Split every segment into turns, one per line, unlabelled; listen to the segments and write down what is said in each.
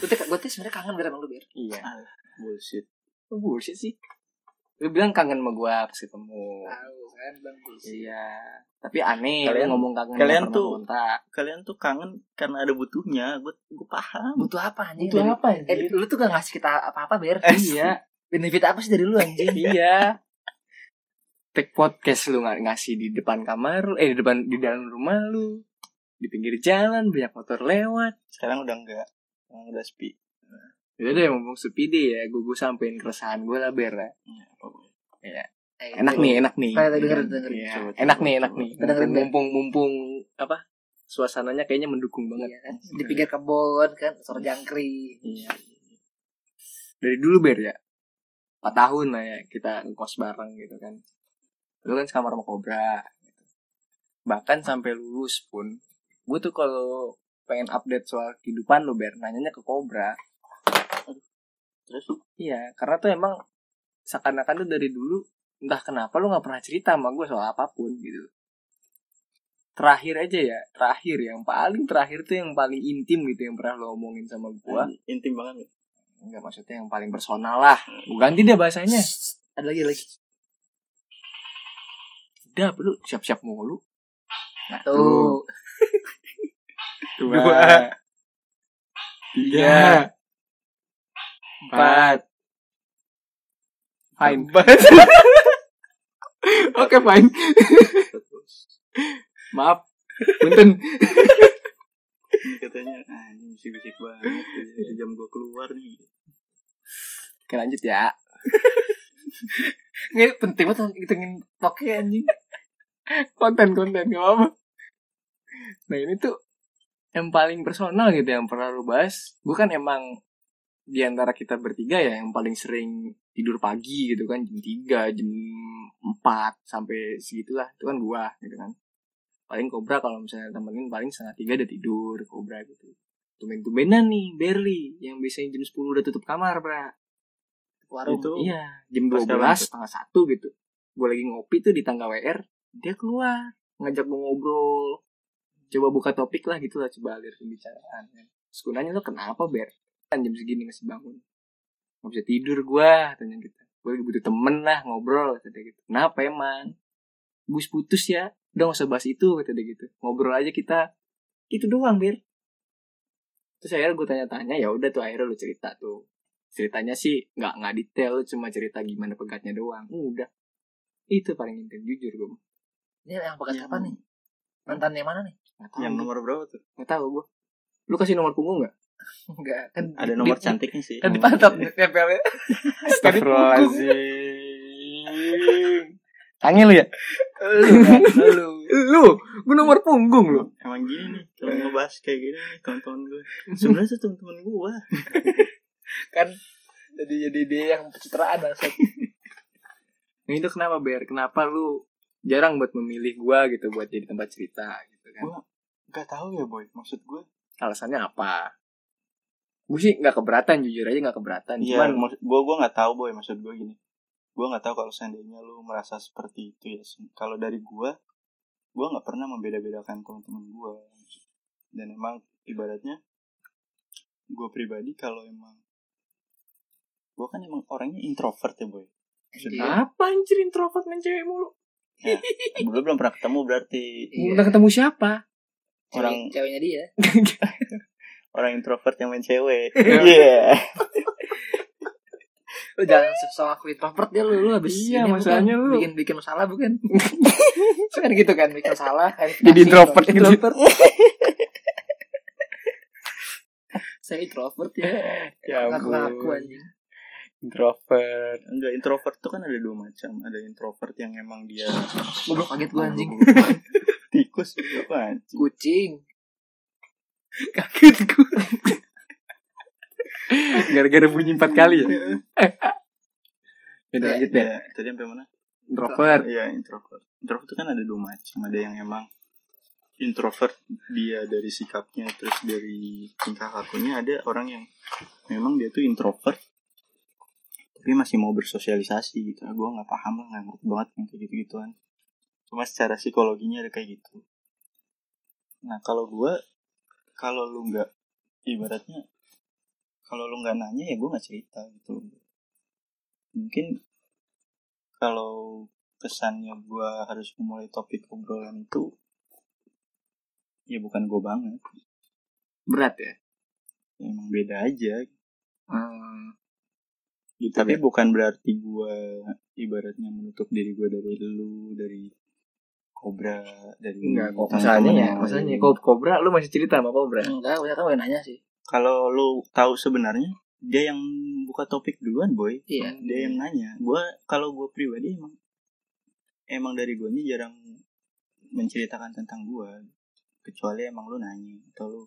sebenarnya kangen bener sama lu bir
Iya. Bullshit. Lu Bullshit sih. Lu bilang kangen sama gua pas ketemu.
tahu kan bang
Iya. Tapi aneh
Ah, Kalian-
lu ngomong kangen
kalian
nggak pernah
tuh-
kontak.
Kalian tuh kangen karena ada butuhnya. Gue gue paham.
Ah, butuh apa anjing
Itu
Dari-
apa
eh, lu tuh gak ngasih kita apa-apa Eh, bir
Iya,
benefit apa sih dari lu anjing
iya. Take podcast lu nggak ngasih di depan kamar lu, eh di depan di dalam rumah lu. Di pinggir jalan banyak motor lewat.
Sekarang udah enggak. Sekarang udah sepi.
Ya udah ngomong sepi deh ya, gue gue sampein keresahan gue lah ber ya.
Eh,
Enak
Iya.
itu.
nih, enak nih.
Kayak tadi dengerin, dengerin.
Iya,
Coba, coba,
Enak nih,
coba.
enak nih.
Kita dengerin, Ber.
Mumpung mumpung apa? Suasananya kayaknya mendukung banget.
Iya kan? di pinggir kebun kan suara jangkrik
Iya. Dari dulu ber ya. 4 tahun lah ya kita ngekos bareng gitu kan. Lu kan sekamar sama Kobra. gitu. Bahkan sampai lulus pun gue tuh kalau pengen update soal kehidupan lu ber nanyanya ke Kobra.
Terus?
Iya, karena tuh emang seakan-akan tuh dari dulu entah kenapa lu nggak pernah cerita sama gue soal apapun gitu. Terakhir aja ya, terakhir yang paling terakhir tuh yang paling intim gitu yang pernah lo omongin sama gue.
Intim banget.
Enggak maksudnya yang paling personal lah. Gua ganti deh bahasanya.
ada lagi ada lagi
Udah, lu siap-siap mulu.
tuh
Dua,
Dua,
tiga, empat. Fine. Oke, fine. Maaf. Punten.
Katanya, ah ini bisik-bisik banget. Udah
Iya.
jam gue keluar nih.
Oke, lanjut ya.
ini penting banget ngitungin pokoknya anjing
Konten-konten, gak apa-apa. Nah, ini tuh yang paling personal gitu yang pernah lu bahas. Gue kan emang di antara kita bertiga ya yang paling sering tidur pagi gitu kan jam 3, jam 4 sampai segitulah. Itu kan gua gitu kan. Paling kobra kalau misalnya temenin paling setengah tiga udah tidur kobra gitu. Tumben-tumbenan nih Berli yang biasanya jam 10 udah tutup kamar, Bra.
warung
Itu
Iya, jam
Pas
12
kapan tuh?
setengah satu gitu. Gue lagi ngopi tuh di tangga WR, dia keluar ngajak gue ngobrol. Coba buka topik lah gitu lah, coba alir pembicaraan. Kan. Terus gue nanya, lo kenapa Ber? Kan jam segini masih bangun. Gak bisa tidur gue, tanya gitu. Gue lagi butuh temen lah ngobrol, kata dia gitu. Kenapa emang? Gus putus ya, udah gak usah bahas itu, kata dia gitu. Ngobrol aja kita, itu doang Ber. Terus akhirnya gue tanya-tanya, ya udah tuh akhirnya lu cerita tuh ceritanya sih nggak nggak detail cuma cerita gimana pegatnya doang udah itu paling intim jujur gue
ini yang pekat
Yang-
kapan nih mantan yang mana nih
nggak tahu
Yang
gua.
nomor berapa tuh?
nggak tahu gue lu kasih nomor punggung nggak
enggak kan
Ada
di-
nomor
di-
cantiknya sih.
kan dipantat nempelnya
Astagfirullahaladzim Tangi lu ya?
lu
Lu, gue nomor punggung lu
Emang gini nih, kalau ngebahas kayak gini nih, teman-teman gue. Sebenarnya tuh teman-teman gue.
kan jadi jadi dia Iya, yang pencitraan langsung
Nah itu kenapa Ber? Kenapa lu jarang buat memilih gua gitu buat jadi tempat cerita gitu kan?
Gak tahu ya boy, maksud gue.
Alasannya apa? Gue sih nggak keberatan jujur aja nggak keberatan.
Iya,
Cuman
maksud gue gue nggak tahu boy, maksud gue gini. Gue nggak tahu kalau seandainya lu merasa seperti itu ya. Sen. Kalau dari gue, gue nggak pernah membeda-bedakan teman-teman gue. Dan emang ibaratnya gue pribadi kalau emang gue kan emang orangnya introvert ya boy. Maksud gue,
Iya.
Iya. apa anjir introvert main cewek mulu?
lu belum pernah ketemu berarti
Iya.
Udah ketemu siapa?
orang
Cewek- ceweknya dia
orang introvert yang main cewek. Iya.
lu jangan sok akuin introvert dia lu lu habis
Iya,
ini
masalahnya
bukan?
lu.
bikin bikin masalah bukan Itu kan gitu kan bikin masalah
Jadi introvert gitu.
introvert saya introvert ya
Ya
aku
ampun.
aku anjing
Introvert.
Enggak introvert tuh kan ada dua macam. Ada introvert yang emang dia
goblok kaget gua anjing
tikus apa anjing.
kucing
Kaget gue. Gara-gara bunyi empat kali ya. Iya, Jadi lanjut deh.
Ya, tadi sampai mana?
Introvert.
Iya, introvert. Introvert itu kan ada dua macam. Ada yang emang introvert dia dari sikapnya terus dari tingkah lakunya ada orang yang memang dia tuh introvert tapi masih mau bersosialisasi gitu. Gue nggak paham lah, nggak ngerti banget yang kayak gitu-gituan. Cuma secara psikologinya ada kayak gitu. Nah kalau gue, kalau lu nggak ibaratnya kalau lu nggak nanya ya gue nggak cerita gitu mungkin kalau kesannya gue harus memulai topik obrolan itu ya bukan gue banget
berat ya
Ya emang beda aja
Hmm,
gitu tapi bukan berarti gue ibaratnya menutup diri gue dari lu dari kobra dari
enggak kok
teman-teman
masalahnya ya
yang
masalahnya
lain.
kok kobra lu masih cerita sama kobra
Enggak, banyak kan nanya sih.
kalau lu tahu sebenarnya dia yang buka topik duluan boy
Iya.
Hmm, dia yang nanya gue kalau gue pribadi emang emang dari gue jarang menceritakan tentang gue kecuali emang lu nanya atau lu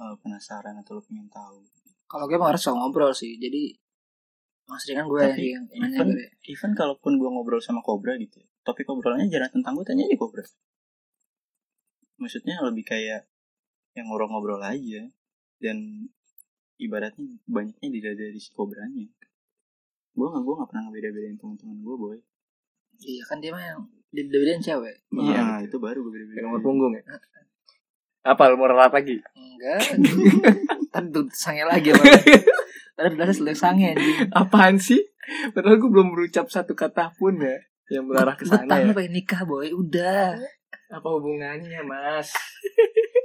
eh, penasaran atau lu pengen tahu
Kalau gue emang harus suka ngobrol sih. Jadi Mas kan gue
Tapi,
yang yang nanya ya.
even-
gue.
even kalaupun gue ngobrol sama Cobra gitu ya, topik obrolannya jarang tentang gue tanya aja Cobra maksudnya lebih kayak yang ngobrol-ngobrol aja dan ibaratnya banyaknya tidak dari si Cobranya gue nggak gue nggak pernah ngebeda-bedain teman-teman gue boy
Iya kan dia mah yang dibedain cewek.
Iya,
nah,
betul.
itu baru gue
Yang
beda-bedain
nomor punggung ya apa lu mau relat lagi
Enggak. Tentu sange lagi sama. Tadi belasnya selesai sange anjing.
apaan sih padahal gue belum berucap satu kata pun ya yang mengarah ke
Betah
sana ya.
lu pengen nikah boy, udah.
apa hubungannya mas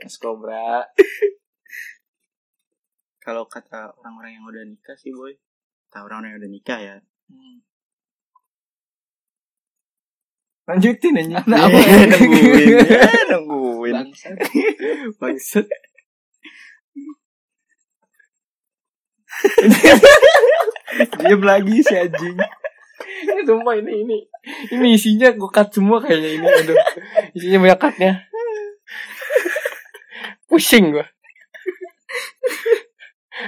mas kobra
kalau kata orang-orang yang udah nikah sih boy kata orang-orang yang udah nikah ya
Hmm.
lanjutin aja
Nah, apa
Iya,
Eh, nungguin ya, nungguin
Bangsat.
Bangsat. Diam lagi si anjing. Ini sumpah ini ini ini isinya gokat semua kayaknya ini. Aduh. Isinya banyak cutnya. Pusing gua.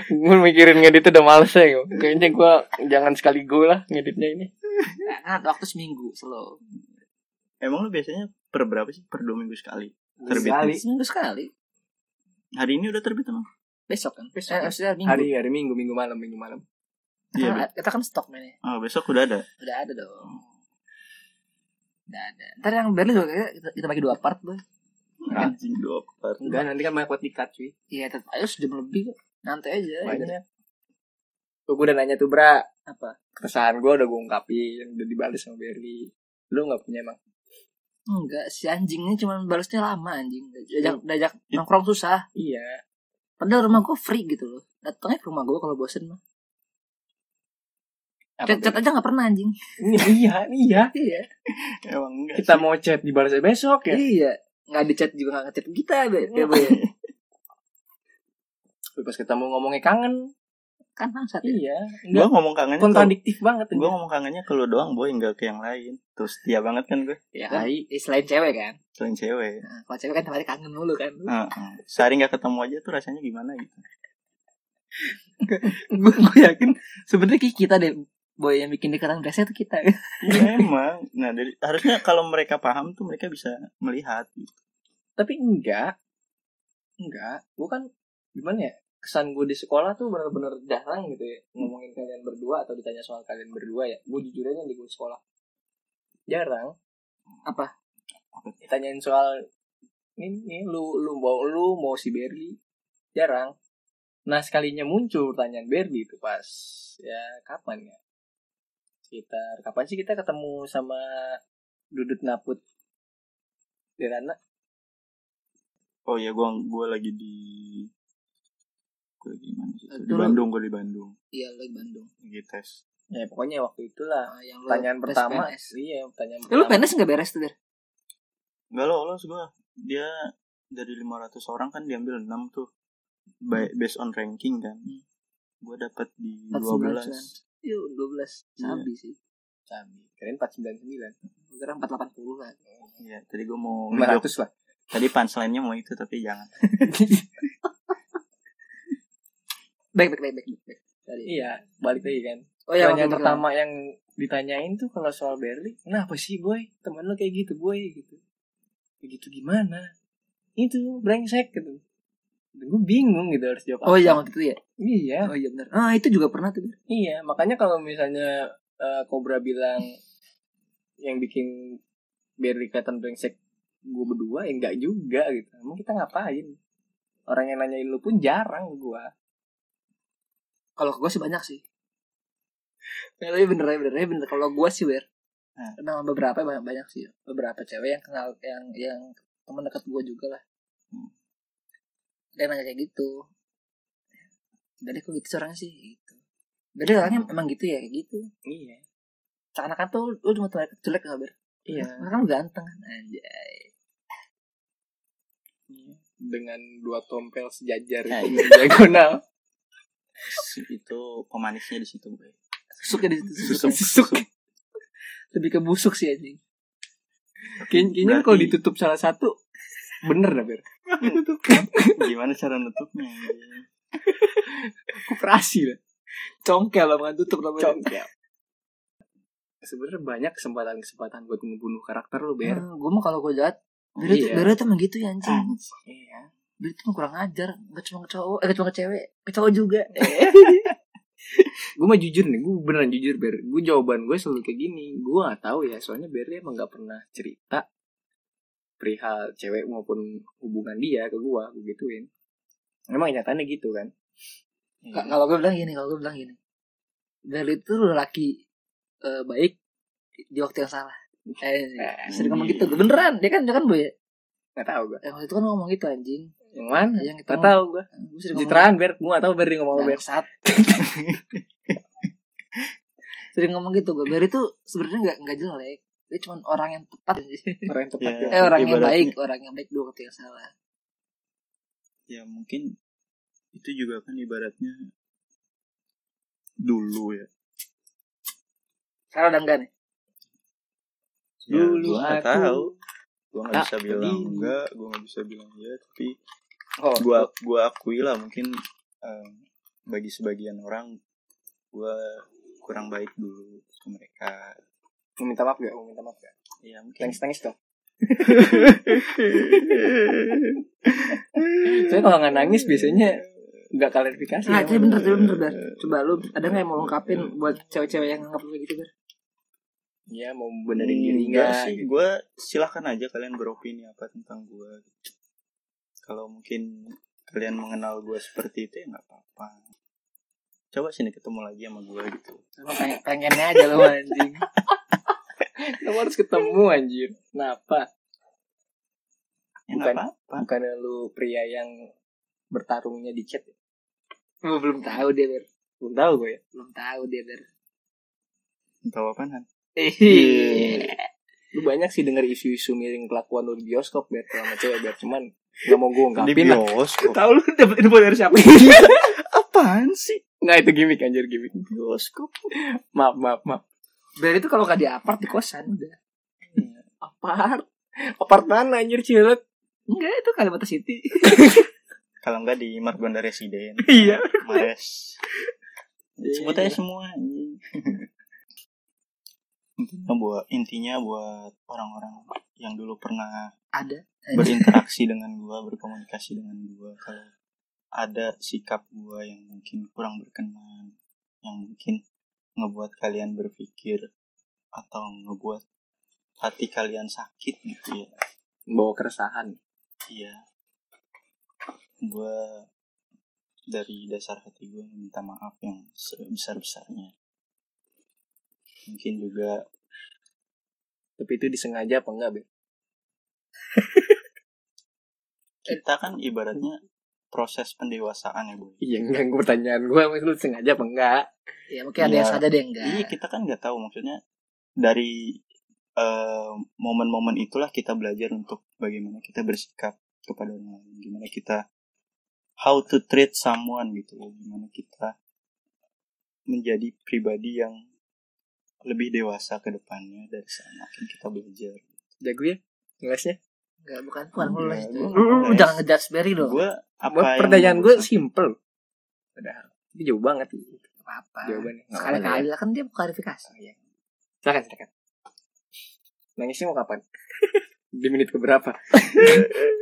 Gue mikirin ngedit udah males ya gua. Kayaknya gua jangan sekali go lah ngeditnya ini
Nah, waktu seminggu slow.
emang lu biasanya per berapa sih per dua minggu sekali Terbit.
Sekali.
Seminggu sekali.
hari ini udah terbit emang
Besok kan.
Besok
Eh,
kan.
maksudnya minggu.
Hari hari Minggu, Minggu malam, Minggu malam
Kita,
iya Be.
kita kan stok mainnya.
oh, besok udah ada
Udah ada dong. Udah ada. Ntar yang Berlin juga kita- kita, kita bagi dua part boy.
anjing dua per
Enggak, nanti kan banyak buat dikat cuy
Iya, tetap aja sejam lebih kok. Nanti aja. ya kan,
Banyak. Tuh gue udah nanya tuh Bra
Apa?
Keresahan gue udah gue ungkapin Udah dibales sama Berli Lu gak punya emang
Enggak, si anjingnya cuma balasnya lama anjing. Dajak, dajak nongkrong susah.
Iya
Padahal rumah gue free gitu loh. Datangnya ke rumah gue kalau bosen mah. Chat,
Apa,
chat aja gak pernah anjing.
Ber? Ini, Iya Iya
Iya.
emang enggak
Kita mau chat dibalas besok ya
Iya. Nggak di chat juga nggak ngechat kita. Iya, Be. Dia, Be. Iya.
Lu Pas ketemu ngomongnya kangen
kan bangsat ya.
Iya
gue
Enggak
ngomong kangennya
Kontradiktif banget
gue ngomong kangennya ke lu doang boy enggak ke yang lain terus setia banget kan gue
Ya, kan? Eh, selain cewek kan.
selain cewek
Nah, kalau cewek kan tempatnya kangen mulu kan.
Heeh. sehari nggak ketemu aja tuh rasanya gimana gitu
gue gue yakin sebenarnya kayak kita deh boy yang bikin dekatan biasanya itu kita
ya,
Iya.
emang nah dari harusnya kalau mereka paham tuh mereka bisa melihat gitu.
Tapi enggak Enggak Gue kan Gimana ya kesan gue di sekolah tuh bener-bener jarang gitu ya ngomongin kalian berdua atau ditanya soal kalian berdua ya gue jujur aja di gue sekolah jarang
apa
ditanyain soal ini, ini lu lu mau lu mau si Berli jarang nah sekalinya muncul pertanyaan Berli itu pas ya kapan ya sekitar kapan sih kita ketemu sama Dudut Naput Derana
oh ya gue gue lagi di gue lagi di mana sih
Itu
di
lu-
Bandung gue di Bandung
iya lo di Bandung
lagi tes
ya pokoknya waktu itulah
Ah, yang lo
pertanyaan
tes
pertama
PNS.
iya pertanyaan
Eh, lu
pertama
PNS nggak beres tuh der
nggak lo lo gue dia dari 500 orang kan diambil 6 tuh by, based on ranking kan
Hmm.
gue dapat di
49.
12
yuk Iya, dua belas sabi sih
Sami. keren 499
gue kira empat delapan puluh lah
Iya, tadi gue mau
500 lah
Tadi punchline-nya mau itu tapi jangan.
baik baik baik baik, baik. Tadi.
iya balik lagi kan
oh iya
pertanyaan
waktu
pertama yang ditanyain tuh kalau soal Berli kenapa sih boy temen lu kayak gitu boy gitu "Ya gitu gimana itu brengsek gitu Dan gue bingung gitu harus jawab
oh
apa.
iya waktu itu ya
iya
oh iya benar ah itu juga pernah tuh Der.
iya makanya kalau misalnya eh, Cobra bilang yang bikin Berli kelihatan brengsek gue berdua ya enggak juga gitu emang kita ngapain orang yang nanyain lu pun jarang gua
Kalau ke gue sih banyak sih. Ya, tapi bener ya bener ya bener. Kalau gue sih ber,
Hmm.
kenal beberapa ya, banyak banyak sih. Beberapa cewek yang kenal yang yang teman dekat gue juga lah.
Hmm.
Dia nanya kayak gitu. Dari kok gitu orangnya sih gitu. Dari orangnya emang gitu ya kayak gitu.
Iya.
Karena kan tuh lu cuma terlihat jelek nggak ber?
Iya.
Karena kan lu ganteng kan anjay.
Dengan dua tompel sejajar
Nah,
itu diagonal.
itu pemanisnya di situ gue
Susuknya ya di situ.
Susuk.
Susuk. Lebih ke busuk sih anjing.
Kay- kayaknya
Berarti-
kalau ditutup salah satu bener dah ber.
gimana cara nutupnya
Koperasi lah.
Congkel lah bukan tutup lah Ber.
Congkel. Sebenarnya banyak kesempatan-kesempatan buat ngebunuh karakter lu ber.
Hmm, gue mah kalau gue jahat Beri tuh
Iya.
Beri tuh emang gitu ya anjing
Anjing.
Iya.
Beri tuh emang kurang ajar Gak cuma ke cowok Eh gak cuma ke cewek Ke cowok juga
gue mah jujur nih gue beneran jujur ber gue jawaban gue selalu kayak gini gue gak tahu ya soalnya ber dia emang gak pernah cerita perihal cewek maupun hubungan dia ke gue gue gituin emang nyatanya gitu kan
Iya.
Ka- Kalau gue bilang gini Kalau gue bilang gini Beri tuh lelaki eh, Baik Di waktu yang salah Eh
Iya.
sering ngomong gitu Beneran Dia kan Dia kan boy
nggak tahu gue
Eh waktu itu kan ngomong gitu anjing
yang mana
Iya,
Yang kita
nggak tahu gue
Gue sering ngomong gitu,
citraan ber gue gak tahu ber dia ngomong apa ber
Bangsat Sering ngomong gitu gue Beri tuh sebenarnya gak, nggak jelek Dia cuma orang yang tepat
orang yang tepat
Iya.
ya.
Eh orang yang
Ibaratnya-
baik Orang yang baik di waktu yang salah
ya mungkin itu juga kan ibaratnya dulu ya
Sekarang udah enggak nih
Ya,
Dulu
gua nggak
aku-
tahu gue nggak
tak
bisa bilang
peduli.
enggak gue nggak bisa bilang iya tapi
oh
gue gua akui lah mungkin em, bagi sebagian orang gue kurang baik dulu ke mereka
mau minta maaf gak mau minta maaf gak
ya mungkin
tangis tangis dong Soalnya kalau nggak nangis
ya, Iya.
biasanya nggak klarifikasi
Nah,
ya,
tapi
Ber.
bener, tapi bener, Ber. Coba lu ada nggak yang mau lengkapin buat cewek-cewek yang nganggap lu kayak gitu, Ber?
Iya mau benerin
Hmm,
diri
enggak
nggak
sih gue silahkan aja kalian beropini apa tentang gue kalau mungkin kalian mengenal gue seperti itu ya nggak apa-apa coba sini ketemu lagi sama gue gitu
Emang pengen, pengennya aja lu anjing.
Kamu harus ketemu anjir. Kenapa?
ya nggak
Bukan.
apa-apa
Bukannya lu pria yang bertarungnya di chat ya?
Gua belum tahu dia, Ber.
Belum tahu gue ya.
Belum tahu dia, Ber.
tahu apaan
Iya.
Iya.
Lu banyak sih denger isu-isu miring kelakuan lu di bioskop biar sama cewek biar cuman nggak mau gue
di
ungkapin lah.
bioskop
Tahu lu dapet info dari siapa?
apaan sih
Nggak itu gimmick anjir gimmick.
bioskop
Maaf maaf maaf.
Ber itu kalau nggak di apart di kosan udah.
Apart. Apart mana anjir cilet?
Enggak, itu Kalimantan City.
kalau nggak di Margonda Residen
Iya.
Mares sebut aja
Iya.
semua anjing. intinya buat intinya buat orang-orang yang dulu pernah
Ada.
berinteraksi dengan gua berkomunikasi dengan gua kalau ada sikap gua yang mungkin kurang berkenan yang mungkin ngebuat kalian berpikir atau ngebuat hati kalian sakit gitu ya
Bawa keresahan.
iya gua dari dasar hati gua minta maaf yang sebesar besarnya mungkin juga
Tapi itu disengaja apa enggak, Beb?
kita kan ibaratnya proses pendewasaan ya bu
Iya, enggak gue pertanyaan gue maksud lu sengaja apa enggak?
Ya mungkin ada yang
Iya.
saja deh enggak.
Iya kita kan nggak tahu maksudnya dari eh, momen-momen itulah kita belajar untuk bagaimana kita bersikap kepada orang lain, gimana kita how to treat someone gitu, loh. gimana kita menjadi pribadi yang lebih dewasa ke depannya dari sana kan kita belajar.
Jago ya? Ngelasnya?
Enggak, bukan bukan lu
Enggak,
lah itu.
gua
Lu, lu- lu
ngeles.
jangan ngejudge Berry dong.
Gue apa
Buat
yang
pertanyaan gue
menurut
simple. Padahal ini jauh banget
Nggak apa-apa.
jawabannya.
Sekali-kali lah kan dia klarifikasi.
Oh, iya. Silakan, silakan. Nangisnya mau kapan? Di menit keberapa?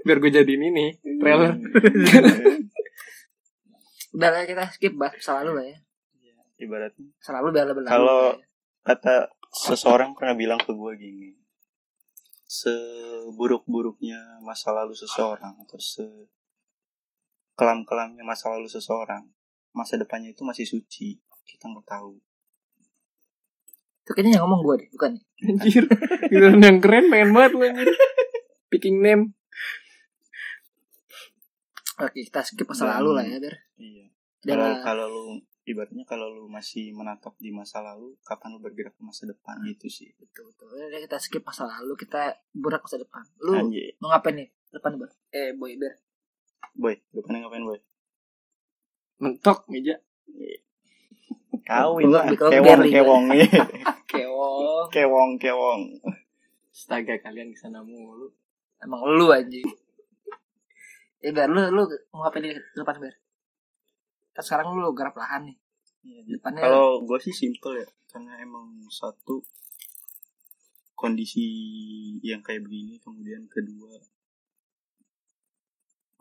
Biar gue jadiin ini
Iya.
trailer.
Hmm,
Udah lah kita skip bah selalu lah ya.
ibaratnya
Selalu biar lebih lanjut
Kalau-
lah ya.
kata seseorang pernah bilang ke gue gini seburuk-buruknya masa lalu seseorang atau se kelam-kelamnya masa lalu seseorang masa depannya itu masih suci kita nggak tahu
Itu kayaknya yang ngomong gue deh, bukan?
Anjir. Giliran yang keren pengen banget lu anjir. Picking name.
Oke, kita skip masa
Dan-
lalu lah ya, biar.
iya kalau
Jangan
kalau lu ibaratnya kalau lu masih menatap di masa lalu kapan lu bergerak ke masa depan gitu sih
betul betul. Udah, kita skip masa lalu, kita burak masa depan. Lu
anjir
mau ngapain nih? Depan ber. Eh, boy ber.
boy depannya ngapain boy
Mentok meja.
kawin lah
Betul,
kewong
Derry.
kewong iya.
Keong.
kewong kewong
Astaga kalian kesana mulu.
Emang lu anjing. Eh, ber, lu lu mau ngapain nih depan ber? Kan sekarang lu garap lahan nih. Iya, Depannya
Kalau gue sih simple ya, karena emang satu kondisi yang kayak begini, kemudian kedua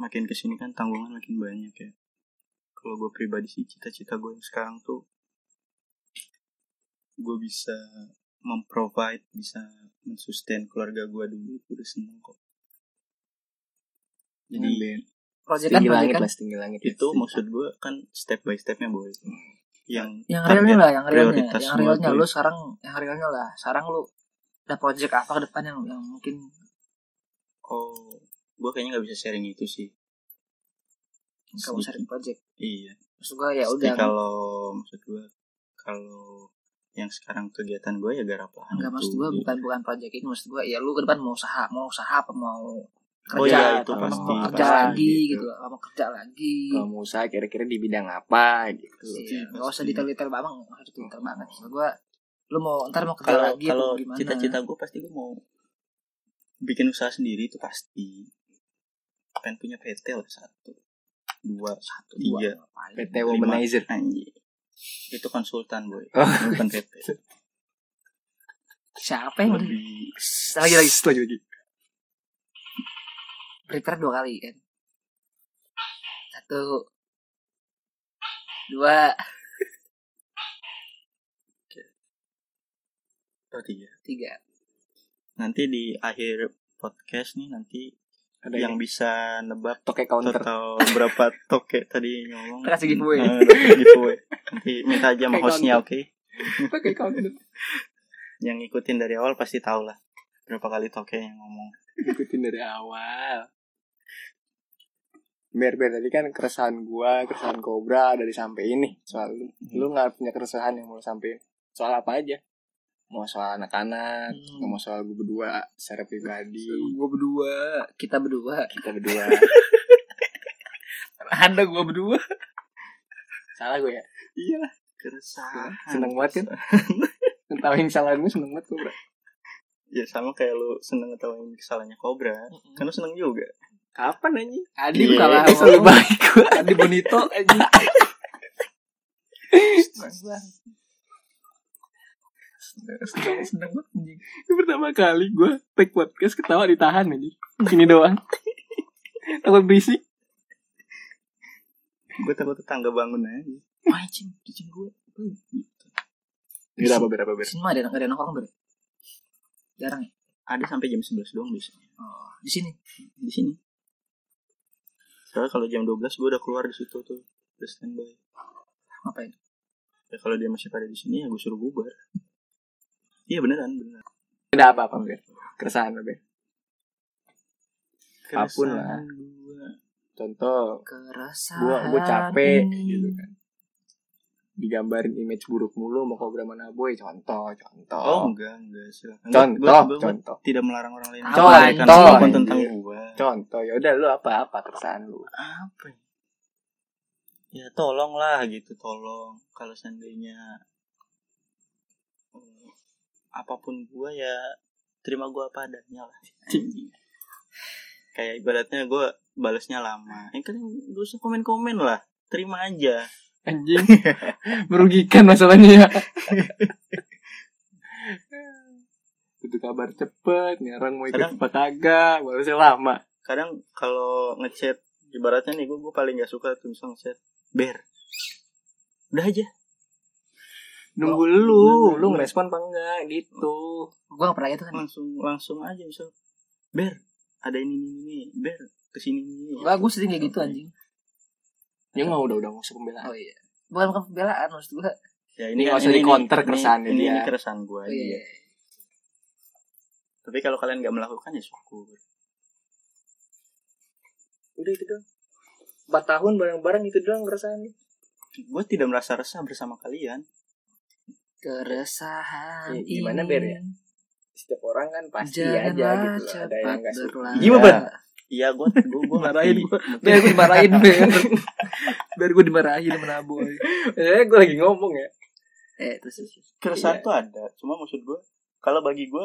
makin kesini kan tanggungan makin banyak ya. Kalau gue pribadi sih cita-cita gue yang sekarang tuh gue bisa memprovide, bisa mensustain keluarga gue dulu, gue udah seneng kok. Jadi
proyekan proyekan
tinggi langit.
itu maksud gue kan step by stepnya boy. Yang
yang
target
realnya lah, yang realnya,
prioritas
yang
gua
realnya
tuh
lu sekarang yang realnya lah. Sekarang lu ada project apa ke depan yang yang mungkin
Oh, gue kayaknya nggak bisa sharing itu sih.
kamu
Sedikit.
sharing project?
Iya.
Maksud gua ya
Tapi
udah
kalau maksud gue, kalau yang sekarang kegiatan gue ya garap lahan.
Enggak
itu.
maksud gue
Jadi-
bukan bukan project ini maksud gue ya lu ke depan mau usaha mau usaha apa mau kerja
Oh iya, itu
apa
pasti,
mau kerja
pasti,
lagi
gitu.
gitu, apa mau kerja lagi
Kalau mau usaha kira-kira di bidang apa gitu.
Iya,
pasti,
nggak usah
pasti.
detail-detail banget nggak usah detail banget maksud gue lu mau ntar mau kerja
Kalau
lagi
kalau
apa gimana
cita-cita gue pasti gue mau bikin usaha sendiri itu pasti. Pengen punya PT lah satu, dua, satu,
Gua
tiga,
ngapain.
PT
lima.
Womanizer.
Anjir. Itu konsultan boy,
Oh.
bukan PT.
Eh, siapa yang udah
Lebih
lagi lagi
lagi lagi.
prepare dua kali kan satu dua
oh, tiga.
tiga
Nanti di akhir podcast nih nanti
Ada yang
yang bisa nebak
toke counter.
atau berapa toke tadi ngomong
Terima kasih giveaway.
Eh, dapat giveaway. nanti minta aja sama
Kayak
hostnya oke
pakai counter
yang ngikutin dari awal pasti tahu lah berapa kali toke yang ngomong
ikutin dari awal Ber, ber tadi kan keresahan gua, keresahan Cobra ada disampein nih soal lu.
Hmm.
Lu nggak punya keresahan yang mau lu sampein soal apa aja? Mau soal anak-anak,
Hmm.
mau soal gue berdua secara pribadi,
gue berdua kita berdua
kita berdua.
ada gue berdua
Salah gue ya? Iya.
keresahan
Seneng banget kan? Ngetawain kesalahan gue seneng banget Cobra.
ya sama kayak lu seneng ngetawain kesalahannya Cobra kan lu seneng juga
Kapan anjing?
Adi
Iya,
kalah
itu
selalu baik gue Adi Bonito anjing. seneng seneng banget anjing.
Itu pertama kali gue take podcast ketawa ditahan aja. Ini doang. Takut berisik.
gue takut tetangga bangun aja
Wah, anjing kucing gue
Berapa berapa
di
ber?
sini mah ada nggak ada nongkrong ber jarang ya
ada sampai jam 11 doang biasanya
oh, di sini
di sini soalnya kalau jam 12 gue udah keluar di situ tuh udah standby
ngapain
ya kalau dia masih pada di sini ya gue suruh bubar iya beneran beneran
Ada apa apa ber? Keresahan lo ber? Apapun lah.
Keresahan gua.
Contoh,
keresahan
gua gua capek
ini.
gitu kan. Digambarin image buruk mulu mau kobra mana boy. Contoh, contoh.
Oh, enggak, enggak silakan. Enggak,
contoh,
gua- gua- gua
contoh.
tidak melarang orang lain.
Contoh,
menyampaikan
contoh.
apapun tentang
Iya.
gua.
Contoh, ya udah lu apa-apa keresahan lu.
Apa? ya? Ya tolonglah gitu, tolong. Kalau seandainya eh, apapun gua ya terima gua apa adanya lah. Anjing. Kayak ibaratnya gua balasnya lama. Yang kan gak usah komen-komen lah. Terima aja.
Anjing. Merugikan masalahnya ya. Butuh kabar cepet, nyerang mau ikut
Kadang-
apa kagak, balasnya lama.
kadang kalau ngechat ibaratnya nih gue paling gak suka tuh misalnya ngechat ber udah aja
Oh, Nunggu lu,
Nunggu
lu
lu.
ngerespon apa enggak gitu.
gua nggak pernah gitu kan
langsung langsung aja misal ber ada ini ini ini ber kesini ini ini."
Hmm. gitu, gua gua sering kayak gitu anjing
Dia Ya nggak udah udah usah pembelaan.
Oh iya. Bukan bukan pembelaan maksud gua.
ya
Ini nggak usah di-counter keresahannya
ini,
dia.
ini keresahan gue
Oh, iya.
tapi kalau kalian nggak melakukan ya syukur
Udah itu doang. 4 tahun bareng-bareng itu doang keresahan.
gue tidak merasa resah bersama kalian
Keresahan
Eh, gimana,
ini
Ber, ya? Setiap orang kan pasti
Janganlah
aja gitu loh. Ada
cepat
yang nggak suka.
berlalu.
Gimana, Ber? iya gue gue gue
Marahin gua. Biar gue dimarahin Ber Biar gue dimarahin sama Naboy
Eh, gue lagi ngomong ya.
Eh terus terus, terus.
keresahan tuh ada cuma maksud gue kalau bagi gue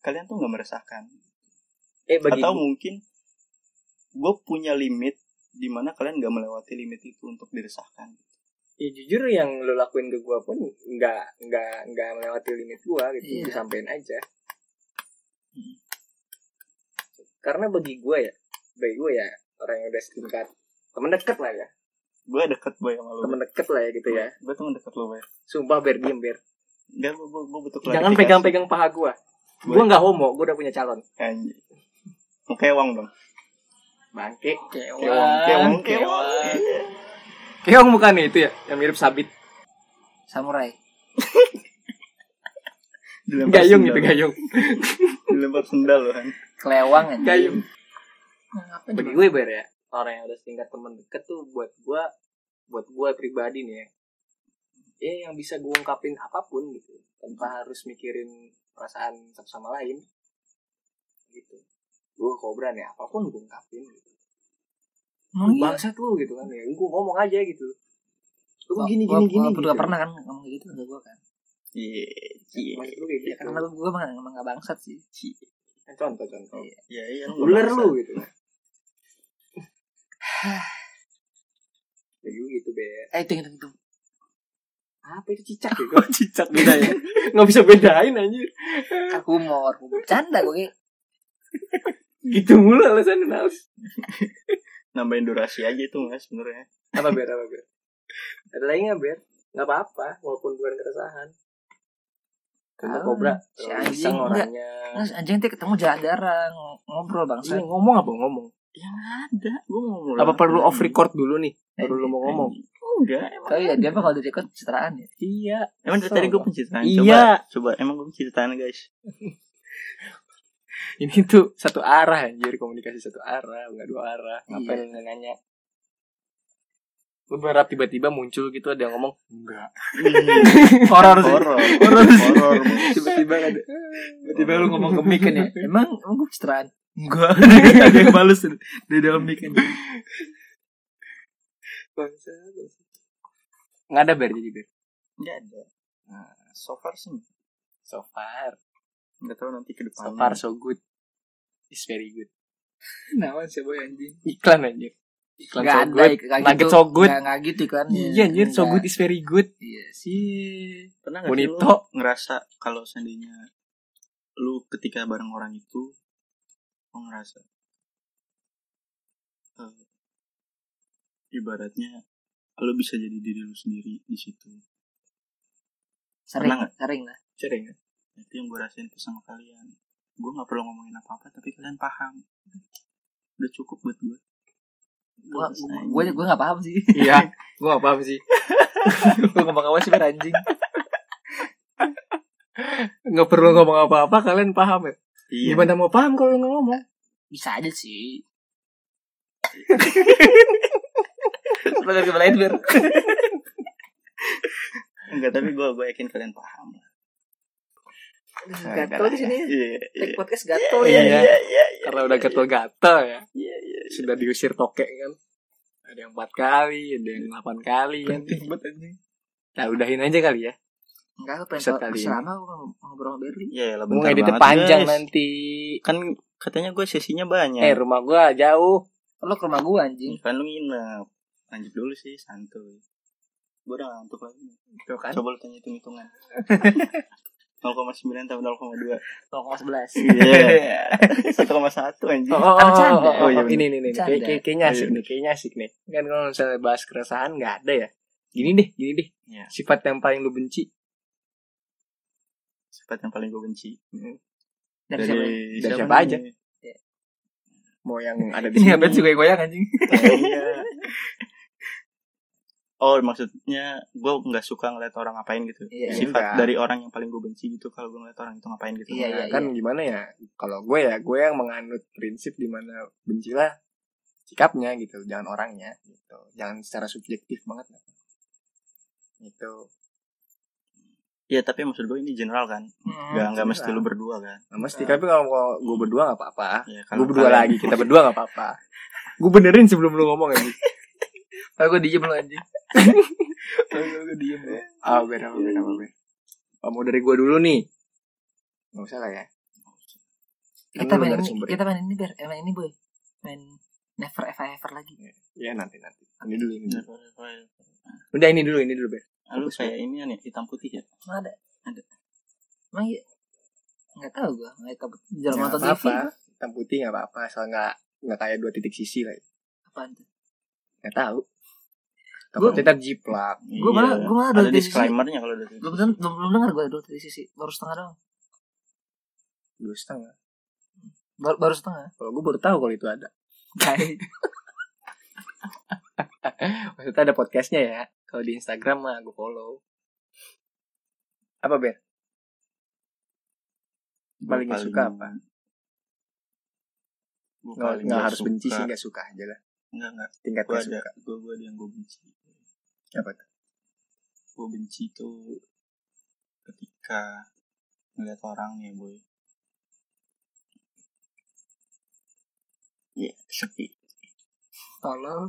kalian tuh nggak meresahkan
Eh, bagi
atau mungkin gue punya limit di mana kalian nggak melewati limit itu untuk diresahkan
ya jujur yang lo lakuin ke gue pun nggak nggak nggak melewati limit gue gitu
Iya.
Gua sampein aja Hmm. karena bagi gue ya bagi gue ya orang yang udah setingkat temen deket lah ya
gue deket boy sama lu
temen deket lah ya gitu ya
gue tuh deket lu boy
sumpah ber diem ber
Enggak, gue, gue, gue butuh
jangan
klarifikasi.
pegang pegang paha gue gue
Boleh.
nggak homo gue udah punya calon
Anjir. Mau kewang dong.
bangke
Kewang, kewang, kewang.
keong bukan itu ya yang mirip sabit
Samurai
Dilempar
gayung
sendal.
itu gayung
Dilempar sendal loh. Han.
Kelewang anjing.
gayung
Nah, ngapain
bagi
juga?
gue ber ya orang yang udah setingkat teman deket tuh buat gue buat gue pribadi nih ya ya yang bisa gue ungkapin apapun gitu tanpa harus mikirin perasaan satu sama lain gitu gue kobra nih apapun gue ungkapin gitu
Emang
Lu
iya?
bangsat lu gitu kan ya gue ngomong aja gitu lu
Gua-
gini
gua-
gini gini
gua
gitu.
gak pernah kan ngomong kayak gitu enggak gue kan
Iya. iya.
Maksud lu kayak
ya,
gitu
karena gue emang, emang gak bangsat sih
Eh, contoh contoh
Iya.
Iya, iya. nggak
ular
maksa.
lu gitu jadi gitu be
eh hitung hitung hitung
apa itu cicak ya
Oh,
Kok cicak beda ya?
nggak bisa bedain anjir
kan humor humor. bercanda gue
gitu mulu alasan nalis
Nambahin durasi aja itu mas sebenarnya.
apa ber apa ber ada lagi nggak ber nggak apa apa walaupun bukan keresahan Kena
Ah,
kobra
si
Terlalu
anjing,
iseng
enggak.
orangnya
Terus anjing nanti ketemu jarang ng- ngobrol bangsa
Iya, ngomong apa ngomong
Ada. Gue mau mulai.
apa perlu off record dulu nih baru lu mau ngomong
Enggak. Emang,
Oh iya dia mah kalau direkod citraan ya
iya
emang dari tadi gue pencitraan. Coba,
Iya.
Coba, emang gue pencitraan guys.
ini tuh satu arah anjir komunikasi satu arah nggak dua arah
Iya.
ngapain lu nanya lu berharap tiba-tiba muncul gitu ada yang ngomong enggak
Horor
sih.
Horor. Horor.
tiba-tiba ada tiba-tiba lu
ke
ngomong
mic kan ya emang emang gue citraan
Enggak. Ada yang balas dari dalam mic kan.
bangsa bangsa. nggak ada ber jadi ber
Enggak ada. Nah, so far sih.
so far
Enggak tahu nanti ke depannya.
So far so good. It's very good.
Nawan sih boy anjing
Iklan anjir. Iklan
Gak
so
ada
good.
gak
Nugget so good.
Gak, gak gitu kan
Iya anjir, so
Nggak.
good is very good.
Iya sih
Sih.
pernah nggak sih
Bonito.
lu ngerasa kalau seandainya lu ketika bareng orang itu lu ngerasa eh, ibaratnya lu bisa jadi diri lu sendiri di situ
Sering
Pernah nggak?
Sering lah
Sering ya?
itu yang gue rasain pas sama kalian gue nggak perlu ngomongin apa apa tapi kalian paham udah cukup buat gue
Gue gue gue gak paham sih
Iya. Gue gak paham sih. Gue ngomong apa sih ber anjing. Gak perlu ngomong apa-apa kalian paham ya.
iya
Gimana mau paham kalau nggak ngomong?
Bisa aja sih Sebagai kepala Edward
enggak tapi gue gue yakin kalian paham
Gatel di sini
iya iya
Take podcast gatel
Iya,
ya
iya,
iya
Karena udah gatel-gatel ya.
iya iya
Sudah diusir tokek kan. Ada yang 4 kali, ada yang 8 kali kan. Nah, udahin aja kali ya.
Enggak gue pengen
Episode
tau
kali ini.
Selama gue ngobrol sama Berli
Iya, lah,
Mau
bentar
ngeditnya
banget,
panjang
guys.
nanti.
Kan katanya gue sesinya banyak.
Eh rumah gua jauh.
Lo ke rumah gue anjing
Kan lu nginep. Lanjut dulu sih, santuy. Gue udah ngantuk lagi.
Tuh kan.
Coba lu tanya hitung-hitungan. 0,9 tambah 0,2
Toko 11
Iya 1,1 anjing
Oh, oh,
Kan
oh, oh,
bercanda.
oh, oh,
Oh, iya,
ini nih nih.
Bercanda.
Kayak- kayak- Kayaknya asik
Oh, iya.
nih, kayaknya asik nih. Kan kalau misalnya bahas keresahan nggak ada ya. Gini deh, gini deh.
Iya.
Sifat yang paling lu benci
Sifat yang paling gue benci
Dari siapa ya?
Dari,
Dari siapa aja?
nih?
mau yang ada
Ini
di
Iya,
sini.
abad juga goyang anjing
Iya oh maksudnya gue nggak suka ngeliat orang ngapain gitu
Iya.
sifat
Enggak.
dari orang yang paling gue benci gitu kalau gue ngeliat orang itu ngapain gitu
Iya, iya,
kan gimana ya kalau gue ya gue yang menganut prinsip dimana bencilah sikapnya gitu jangan orangnya gitu jangan secara subjektif banget gitu
Iya, tapi maksud gue ini general
Hmm,
kan nggak nggak mesti lu berdua kan
nah, mesti tapi kalau kalau gue berdua nggak apa-apa Kan
ya,
gue berdua lagi kita berdua nggak apa-apa gue benerin sebelum lu ngomong ya, ini
Aku diem lu anjing.
gue diem ya
ah beda apa beda apa mau dari gue dulu nih nggak usah lah ya Kan
Kita
lu
main
dari
ini,
sumber
kita main ini ber, eh, main ini boy. Main never ever ever lagi.
ya nanti nanti ini dulu ini dulu. udah ini dulu ini dulu Ber.
lu kayak ini ya hitam putih ya
Nggak ada. Ada. Emang iya? Nggak tahu gua, nggak tahu. Jalan
Nggak
nonton TV.
apa-apa hitam putih nggak apa-apa asal nggak nggak kayak dua titik sisi lah ya.
Apaan tuh?
nggak tahu
Gua-
takutnya tetap jiplak
Gua malah- gua malah
Iya. ada
dari sisi-
disclaimernya kalau dari
Belum belum belum dengar gua dua dari sisi. Baru setengah doang.
dua setengah
Baru, baru setengah.
kalau gue baru tahu kalau itu ada
Baik.
maksudnya ada podcastnya ya kalau di Instagram mah gue follow apa Ber
Gua
paling nggak suka apa?
Gua
nggak
paling
nggak
nggak
harus benci
suka.
sih nggak suka aja lah
Nggak, nggak.
tingkat
Gua
nggak
ada
suka
gue gue ada yang gue benci
apa tuh
gue benci tuh ketika ngeliat orang nih boy ya sepi
Tolong.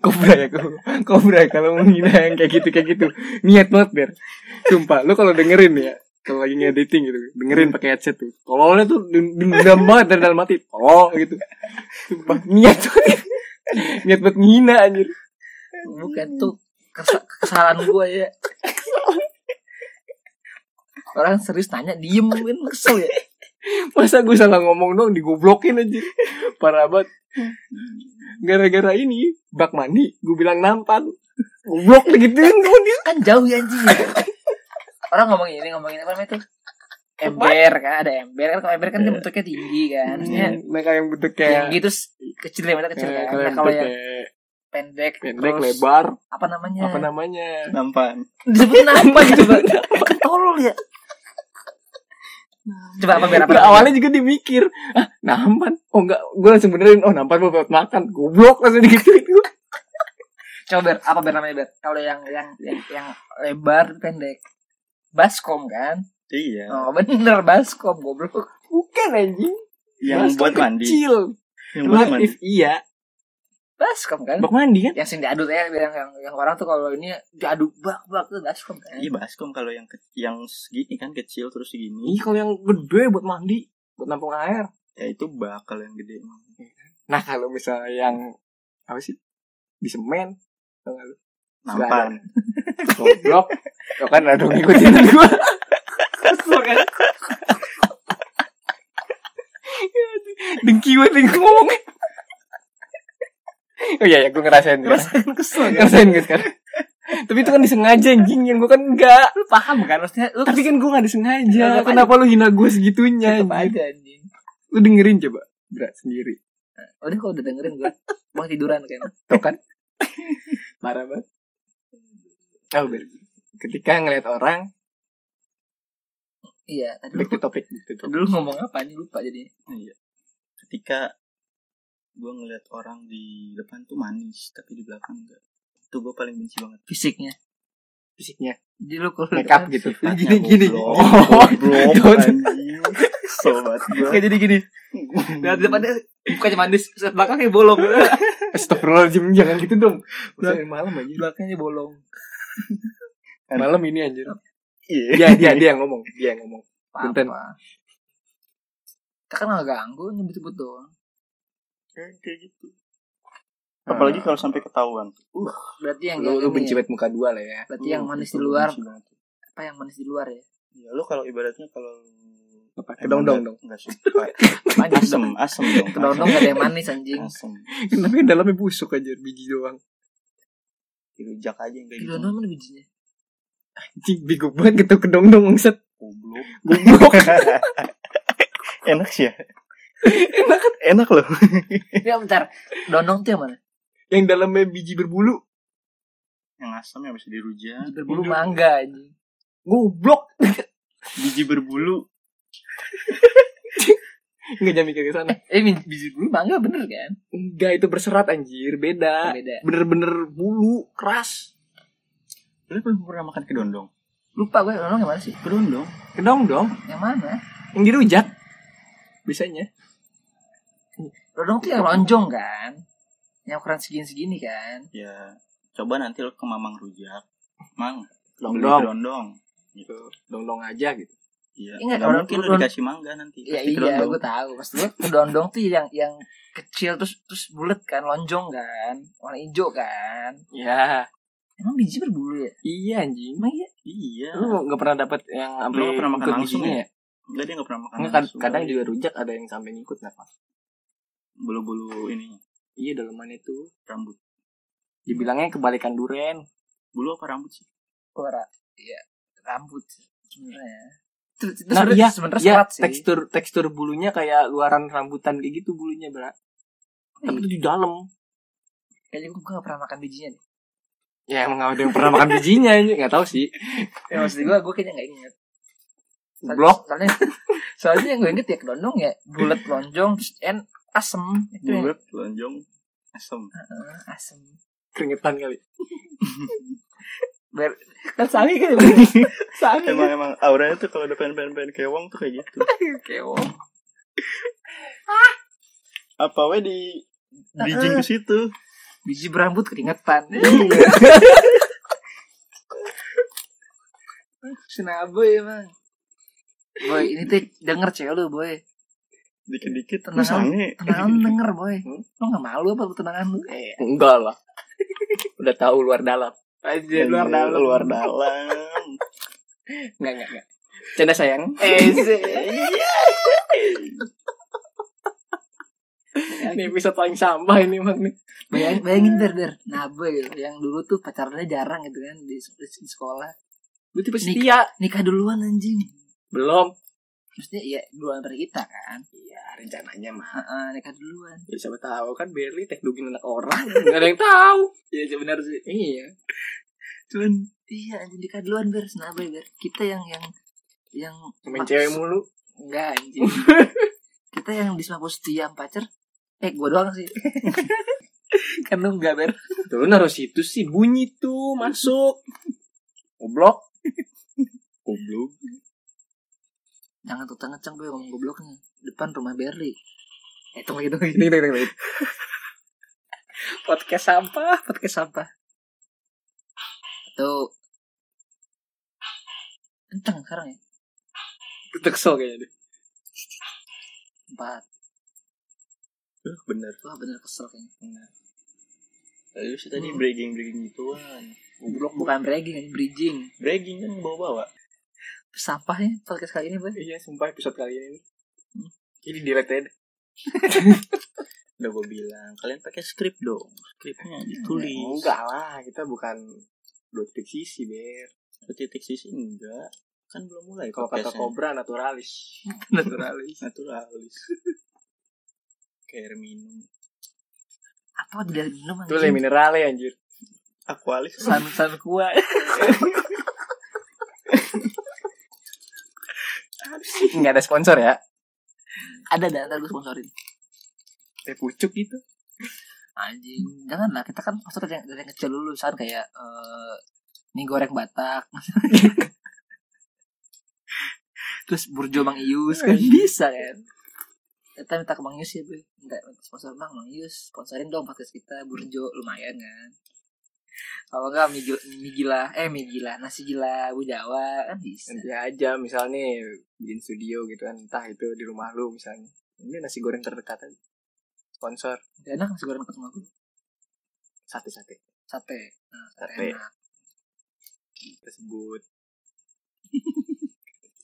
Kobra ya kobra. Kobra kalau menghina yang kayak gitu kayak gitu niat banget ber. Sumpah lu kalau dengerin ya kalau lagi ngediting gitu dengerin pakai headset tuh. Tololnya tuh dendam banget dari dalam hati. Tolol gitu. Sumpah niat banget. niat buat ngina anjir.
Bukan tuh kes- kesalahan gua ya. Orang serius nanya diem kan kesel ya.
Masa gue salah ngomong dong digoblokin anjir. Parah banget. Gara-gara ini bak mandi gue bilang nampan. Goblok digituin sama dia.
kan jauh ya anjing orang ngomongin ini ngomongin apa namanya tuh ember kan ada ember kan kalau ember kan dia bentuknya tinggi kan maksudnya
Mereka yang bentuk
yang
Iya. kayak Iya,
gitu s- kecil lebarnya kecil kan nah, kalau yang pendek,
pendek
terus
lebar
apa namanya
apa namanya
nampan
disebutin apa ya coba Kan tolol ya coba apa biar apa
Nah, awalnya juga dimikir ah nampan oh enggak gue langsung benerin oh nampan mau buat makan goblok langsung digituin gue
coba biar apa biar namanya biar kalau yang yang yang, yang lebar pendek baskom kan
iya
oh bener baskom goblok
bukan anjing
yang
Baskom
buat mandi
kecil
yang buat mandi
Relatif, iya
baskom kan
bak mandi kan
yang sering diaduk ya bilang yang, yang orang tuh kalau ini diaduk bak bak tuh baskom kan
iya baskom kalau yang ke- yang segini kan kecil terus segini
Ih, kalau yang gede buat mandi buat nampung air
ya itu bakal yang gede emang
nah kalau misalnya yang apa sih di semen tau nggak lu?
nampan
goblok lo kan ada ngikutin gue
kan?
dengki banget yang ngomongnya oh iya ya gue ngerasain gue
Ngerasain kesel kan?
ngerasain gue sekarang tapi itu kan disengaja anjing yang gue kan enggak
Lu paham kan maksudnya lu
tapi kan gue gak disengaja
Tetep aja.
kenapa lu hina gue segitunya
tetep
anjing?
aja anjing
lu dengerin coba berat sendiri
udah kalau udah dengerin gue mau tiduran kan
tau kan parah banget oh, Ber. ketika ngeliat orang
iya tadi
back
lu,
to topic back to topic.
dulu ngomong apa nih lupa jadinya
iya ketika gue ngeliat orang di depan tuh manis tapi di belakang enggak itu gue paling benci banget
fisiknya
fisiknya
jadi lu kalau
makeup gitu
Gini, gini.
oh
Jangan.
sobat gue
kayak jadi gini dari depannya bukannya manis set belakangnya bolong
Astagfirullahaladzim jangan gitu dong Udah malam aja
belakangnya bolong
Malam ini anjir
iya
Dia dia dia yang ngomong Dia yang ngomong
apa
Punten.
kita kan nggak ganggu nyebut-nyebut doang
kayak gitu
Ah.
apalagi kalau sampai ketahuan uh
berarti yang
Lu, lu
yang ini
benci
ya.
banget muka dua lah ya
berarti yang
uh,
manis
itu
di
gua
luar
benci banget.
apa yang manis di luar ya
ya lu kalau ibaratnya kalau
Apa?
emang
Kedong-dong
nggak-
dong
nggak suka
manis
asem asem dong
kedondong gak ada yang manis anjing
asem
Tapi kan dalamnya busuk aja Biji doang
dirujak aja yang kayak gitu
kedondong mana bijinya
Anjing bego banget gitu kedong dong Set
goblok
Goblok
enak sih ya
enak kan
Enak loh.
Ya bentar. Donong tuh yang mana?
yang dalamnya biji berbulu
Yang asam ya, yang bisa diruja.
Berbulu mangga anjing.
goblok
Biji berbulu.
nggak jangan mikir ke sana
Eh bi- biji bulu mangga bener kan?
enggak itu berserat anjir beda
Beda.
bener-bener bulu keras
Lu belum pernah makan kedondong?
Lupa gue donong yang mana sih?
Kedondong?
kedong dong
Yang mana?
yang dirujak biasanya
Donong tuh yang lonjong kan? Yang ukuran segini-segini kan?
Ya, coba nanti lu ke Mamang Rujak. Mang, beli
dong
kedondong. Gitu.
dong aja gitu
Iya.
Ingat,
Nggak
orang
mungkin lu
kedondong-
dikasih mangga nanti.
Iya
Pasti
iya
kedondong.
gue tahu. Maksud gue kedondong tuh yang yang kecil terus terus bulat kan, lonjong kan, warna hijau kan.
ya
Emang biji berbulu ya?
iya anjing
Emang iya.
Iya.
lu nggak pernah dapat yang sampai
nggak pernah makan
ikut
langsung
bijinya ya
Enggak dia nggak pernah makan.
Nggak, kad-
langsung.
kadang juga rujak ada yang sampai ngikut nggak Pak?
bulu-bulu ini
iya dalaman itu
rambut.
dibilangnya kebalikan duren
Bulu apa rambut sih?
Warna iya rambut sebenarnya. Itu, itu
Nah,
sebenarnya
iya,
sebenarnya
Iya,
serat sih.
tekstur tekstur bulunya kayak luaran rambutan kayak gitu bulunya, Bra. Tapi itu di dalam.
Kayaknya gue gak pernah makan bijinya deh.
Ya emang ada yang pernah makan bijinya ini nggak tahu sih.
Ya maksud gue, gue kayaknya gak inget. Soal-
Blok.
Soalnya, soalnya yang gue inget ya kedondong ya bulat lonjong terus en asem itu ya. yang- Ah,
Bulat, lonjong, asam.
asem.
Keringetan kali.
Ber kan sangi kan ya, sangi.
Emang emang auranya tuh kalau udah pengen-pengen kewong tuh kayak gitu.
Kewo.
Apa we di dijing ke situ?
Ah, Biji berambut keringetan. Senaboy emang. Boy, ini tuh denger cewek lu, boy.
Dikit-dikit
Tenang.
sange.
Tenangan lu denger, boy.
Hmm?
Lu gak malu apa lu tenangan lu? Eh,
Enggak lah. Udah tahu luar dalam. Aja luar dalam.
Luar dalam.
Enggak, enggak, enggak. Canda sayang. ini episode paling sampah ini emang nih.
bayangin, bayangin der, der. Nah, boy, yang dulu tuh pacarnya jarang gitu kan di, di sekolah.
Gue tipe
Nih.
setia.
Nikah duluan anjing.
Belum.
Maksudnya ya duluan dari kita kan.
Iya, rencananya mah.
Heeh, nikah duluan.
Ya siapa tahu kan Berli tekdukin anak orang. Enggak ada yang tahu.
Iya, benar sih.
Iya.
Cuman iya anjing nikah duluan ber senabai ber. Kita yang yang yang
Main cewek mulu.
Enggak anjing. kita yang di Semangku setia sama pacar. Eh, gua doang sih. kan lu enggak ber.
Tuh lu naruh situ sih bunyi tuh masuk. Goblok.
Goblok.
Jangan tukang ngeceng ber ngomong gobloknya. Depan rumah Berli. Eh, tunggu gitu.
Ini ini ini.
Podcast sampah, podcast sampah. Tuh. Kenceng sekarang ya.
Kesel kayaknya deh.
Empat.
Eh, Bener.
Wah bener kesel kayaknya.
Lalu sih tadi breaking-breaking gituan.
Goblok bukan bragging, ini bridging.
Breaking kan bawa-bawa.
Sampah ya podcast kali ini, Boy.
Iya, sumpah episode kali ini. Ini direct aja.
Udah gue bilang, kalian pakai skrip dong. Skripnya ditulis.
Enggak lah, kita bukan dua titik sisi, Ber.
Satu titik sisi enggak. Kan belum mulai
Kalau kata
podcastnya.
Cobra naturalis.
Naturalis.
Naturalis. Kayak air minum.
Apa tidak minum
Itu le
anjing?
mineral ya anjir.
Aqualis.
San san kuah.
Enggak ada sponsor ya.
Ada ada ntar gue sponsorin.
Teh pucuk gitu.
Anjing, jangan lah kita kan sponsor dari, dari yang kecil dulu san kayak eh mie goreng Batak. Terus burjo Mang Ius kan bisa kan. Kita minta ke Mang Ius ya, Bu. Minta minta sponsor Mang Mang Ius, sponsorin dong podcast kita burjo lumayan kan. Kalau enggak mie, gil- mie gila, eh mie gila, nasi gila Bu Jawa kan bisa.
Nanti aja misalnya bikin studio gitu kan, entah itu di rumah lu misalnya. Ini nasi goreng terdekat aja. Sponsor
Gak enak nasi goreng ketemu aku.
sate-sate
Sate. Nah, sate.
Sate.
enak.
tersebut. Gitu.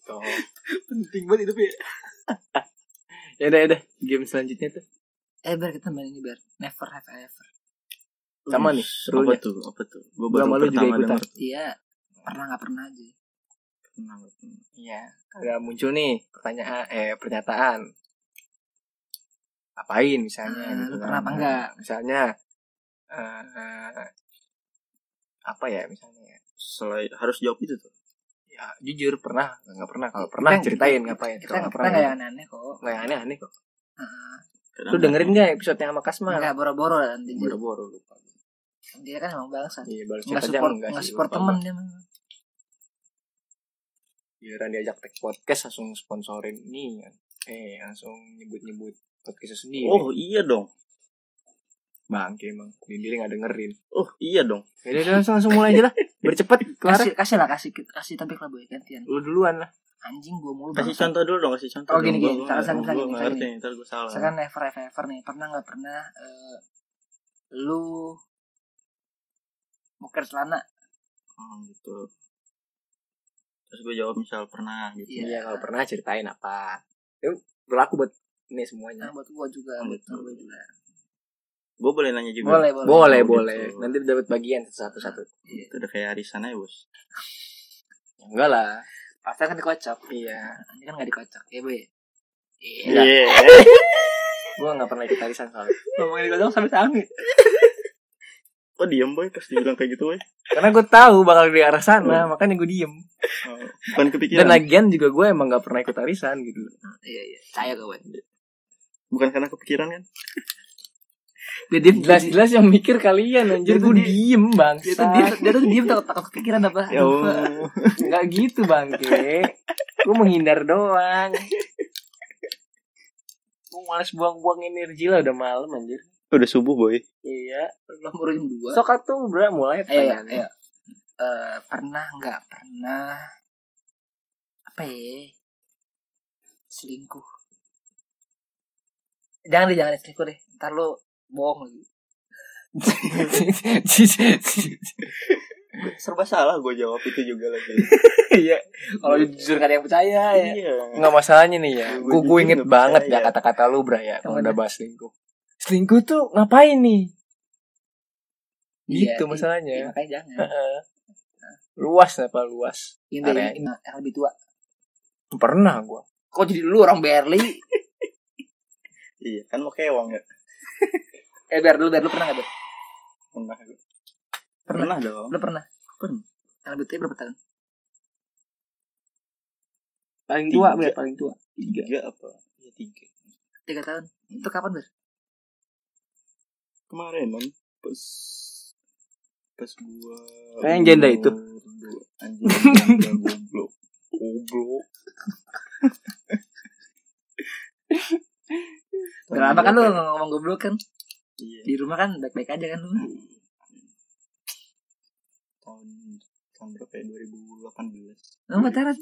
Tuh.
Penting banget itu, Pi. ya udah, udah. Game selanjutnya tuh.
Eh, Ber, kita main ini, Ber. Never have I ever.
Sama nih,
Apa
serunya.
tuh? Apa tuh? Gue
Gua
baru
malu juga
pertama
ikutan.
denger.
Iya. Pernah nggak pernah aja. Nah, mm,
Iya, ada muncul nih pertanyaan eh pernyataan. apain misalnya
Hmm,
gitu
lu
kan.
pernah apa enggak?
misalnya eh, eh, apa ya misalnya ya?
Selain harus jawab itu tuh.
ya jujur pernah nggak pernah kalau pernah
Kita-
ceritain ngapain
kita nggak
kalau nggak
pernah ya?
pernah
nggak yang aneh-aneh kok
nggak aneh aneh kok
Heeh.
Kadang
lu dengerin nggak episode yang sama Kasma
nggak boro-boro lah nanti
boro-boro lupa
dia kan emang bangsa
iya baru
nggak
chat aja
support
enggak
nggak
sih,
support
lupa
temen
gua.
dia mah
giliran diajak tag podcast langsung sponsorin ini kan. eh langsung nyebut-nyebut podcastnya sendiri
Oh iya dong.
bangke emang sendiri nggak dengerin
Oh iya dong.
Yaudah, Ya udah langsung langsung mulai aja lah bercepet kelar
kasih kasih lah kasih kasih topik lah boy gantian
lu duluan lah
anjing gua mulu
Kasih
bangsa.
contoh dulu dong, kasih contoh.
Oh,
dong.
gini,
Gua-
gini.
gua-
Misalkan,
gua-
misalkan,
gua
misalkan
ngerti,
gini.
ntar gue salah.
Misalkan never ever ever nih pernah nggak pernah eh, lu muker celana
Oh, gitu. Terus gue jawab misal pernah gitu.
Iya.
iya kalau pernah ceritain apa itu berlaku buat ini semuanya
nah buat gua juga
Oh,
buat
betul.
gua juga
Gue boleh nanya juga.
boleh boleh
boleh
Oh,
boleh
gitu.
nanti dapat bagian satu-satu
Iya.
Itu udah kayak arisan aja bos.
Ya, enggak lah
pasti kan dikocok
iya
ini kan nggak dikocok ya boy
Iya.
Iya.
Iya.
gua nggak pernah ikut arisan soalnya
Ngomongin dikocok sampai sangi.
Kok diem boy pas dibilang kayak gitu boy?
karena gua tahu bakal di arah sana makanya gua diem
Oh,
dan
Bukan kepikiran.
lagian juga gua emang nggak pernah ikut arisan gitu
Iya iya. Saya kawan.
Bukan karena kepikiran kan?
Dia dia
jelas-jelas yang mikir kalian
Dia
anjir gue
tuh di-
diem bang
Dia tuh dia, dia tuh diem takut takut kepikiran apa.
Ya
Aduh,
Allah.
nggak gitu bangke gue menghindar doang gue males buang-buang energi lah udah malam anjir
Udah subuh boy.
iya
Nomor yang dua.
sok tuh bro
ayo ayo.
mulai pertanyaannya.
ayo. Eh, pernah nggak pernah apa ya selingkuh jangan deh jangan deh, selingkuh deh ntar lu bohong lagi
Serba salah gue jawab itu juga lagi.
iya
kalau jujur gak ada yang percaya ya
Iya.
nggak masalahnya nih ya gue
Gua
gue
jujur
inget
nggak
banget
percaya.
ya kata-kata lu bro ya kalau
Apa
udah
dah?
bahas selingkuh selingkuh tuh ngapain nih
Iya,
gitu
i-
masalahnya
Iya, makanya jangan
Heeh. luas apa ya? luas
ini deh,
Area-
ini yang lebih tua
pernah gue
kok jadi lu orang Berli
Iya kan mau kewang ya.
eh Ber dulu Ber lu pernah nggak Ber
Pernah.
Pernah.
Pernah dong.
lu pernah
Pernah.
yang lebih tua berapa tahun
paling
tua, Ber,
paling tua
Tiga apa? Iya tiga.
tiga tahun itu kapan Ber
Kemarin kan pas pas gua
Kayak yang janda itu.
Dua, anjing janda goblok. Goblok.
udah lama kan lu nggak ngomong goblok kan
Iya.
di rumah kan baik-baik aja kan lu
tahun tahun berapa ya 2018
lu pacaran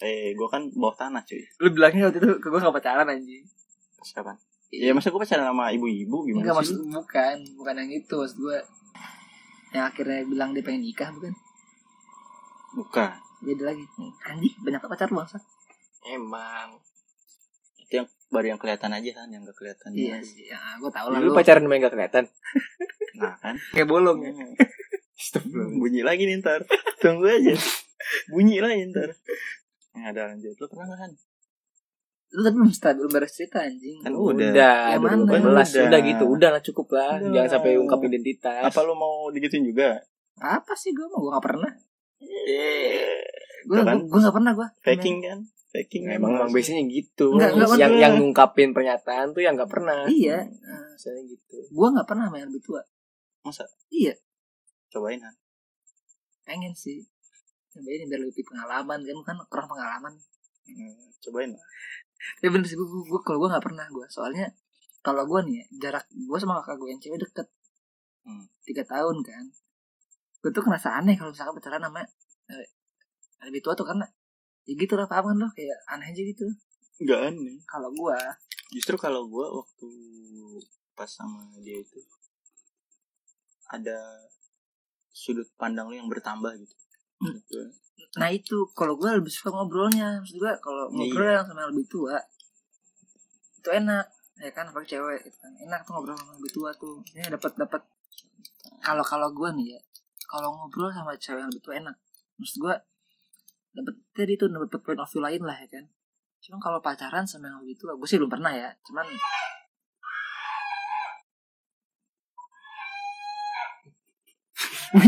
eh gue kan bawah tanah cuy
lu bilangnya waktu itu ke gue gak pacaran anjing
pas kapan ya masa gue pacaran sama ibu-ibu gimana
Enggak
sih
maksud bukan, bukan yang itu maksud gue yang akhirnya bilang dia pengen nikah bukan
bukan
beda lagi anjing banyak pacar lu bangsa
emang
itu yang baru yang kelihatan aja kan yang gak kelihatan
iya sih ya, gue tau lah lu
lu pacaran sama yang gak kelihatan
nah kan
kayak bolong ya
Hmm,
Stop lu.
bunyi lagi nih ntar tunggu aja bunyi lagi ntar nah ada lanjut lo pernah nggak kan
lu tapi belum cerita belum beres cerita anjing
kan udah,
udah
Yang mana?
2018 udah.
Udah.
gitu udah lah cukup lah
Udah.
jangan sampai ungkap identitas
apa lo mau digituin juga
apa sih gue mau gue gak pernah gue
Tuh kan.
gue gak pernah gue
faking kan faking
Ya, emang emang biasanya gitu
Enggak, enggak,
yang
maksudnya.
yang ngungkapin pernyataan tuh yang nggak pernah
iya
misalnya gitu
gue gak pernah main lebih tua
masa
Iya.
cobain kan
pengen sih cobain biar lebih pengalaman kan kan kurang pengalaman
Hmm, cobain lah.
ya bener sih gue gue kalau gue nggak pernah gue soalnya kalau gue nih ya, jarak gue sama kakak gue yang cewek deket
Hmm.
tiga tahun kan gue tuh ngerasa aneh kalau misalkan pacaran sama eh, yang lebih tua tuh karena ya gitu lah paham kan lo kayak aneh aja gitu
nggak aneh
kalau gue
justru kalau gue waktu pas sama dia itu ada sudut pandang lu yang bertambah gitu Menurut gua.
nah itu kalau gue lebih suka ngobrolnya maksud gue kalau ngobrol yang sama yang lebih tua itu enak ya kan apalagi cewek gitu kan enak tuh ngobrol sama yang lebih tua tuh ini dapat dapat kalau kalau gue nih ya kalau ngobrol sama cewek yang lebih tua enak maksud gue dapat tadi tuh dapat point of view lain lah ya kan ya. cuman kalau pacaran sama yang lebih tua gue sih belum pernah ya cuman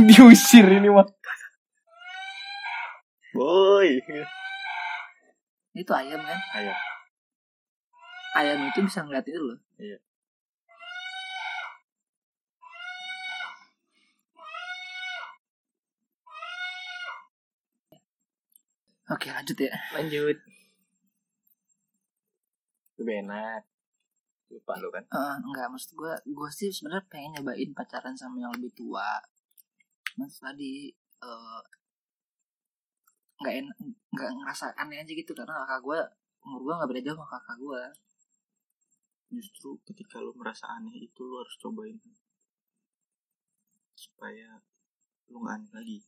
diusir ini mah
boy
itu ayam kan
ayam
ayam itu bisa ngeliat itu loh
Iya.
oke lanjut ya
lanjut lebih enak lupa lu kan
Eh, enggak maksud gue gue sih sebenarnya pengen nyobain pacaran sama yang lebih tua mas tadi eh, nggak enak nggak ngerasa aneh aja gitu karena kakak gue umur gue nggak beda jauh sama kakak gue
justru ketika lu merasa aneh itu lu harus cobain supaya lu gak aneh lagi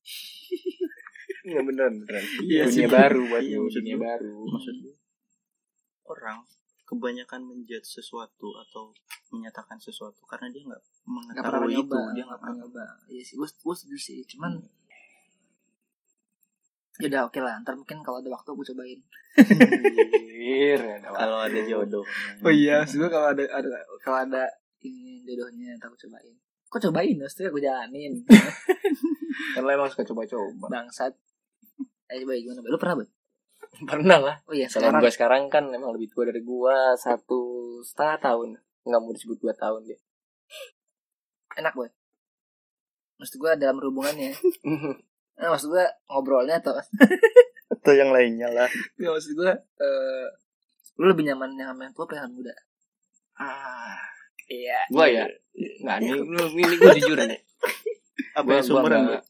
nggak bener beneran
Iya sih.
dunia baru buat
Iya,
lu
maksud
dunia
gua.
baru
maksud gue orang kebanyakan menjudge sesuatu atau menyatakan sesuatu karena dia nggak
nggak pernah
mengetahui itu
nyoba
dia nggak pernah
nyoba iya sih gue gue setuju sih cuman ya udah oke lah ntar mungkin kalau ada waktu gue cobain
Anjir, ada
kalau ada
waktu.
jodoh
oh iya maksud gue kalau ada, ada kalau ada ini jodohnya ntar gue cobain kok cobain maksudnya gue jalanin
kan lo emang suka coba-coba
bangsat ayo coba gimana lu pernah bet
pernah lah
oh iya
Kalau
sekarang
gue sekarang kan emang lebih tua dari gua satu setengah tahun nggak mau disebut dua tahun dia
enak boy maksud gue dalam hubungannya eh, maksud gue ngobrolnya atau
atau yang lainnya lah
ya, maksud gue eh lu lebih nyaman yang sama yang tua apa yang sama yang muda
ah
iya
gue ya nggak ini ini gue jujur aja
apa
gue
yang sumberan
nggak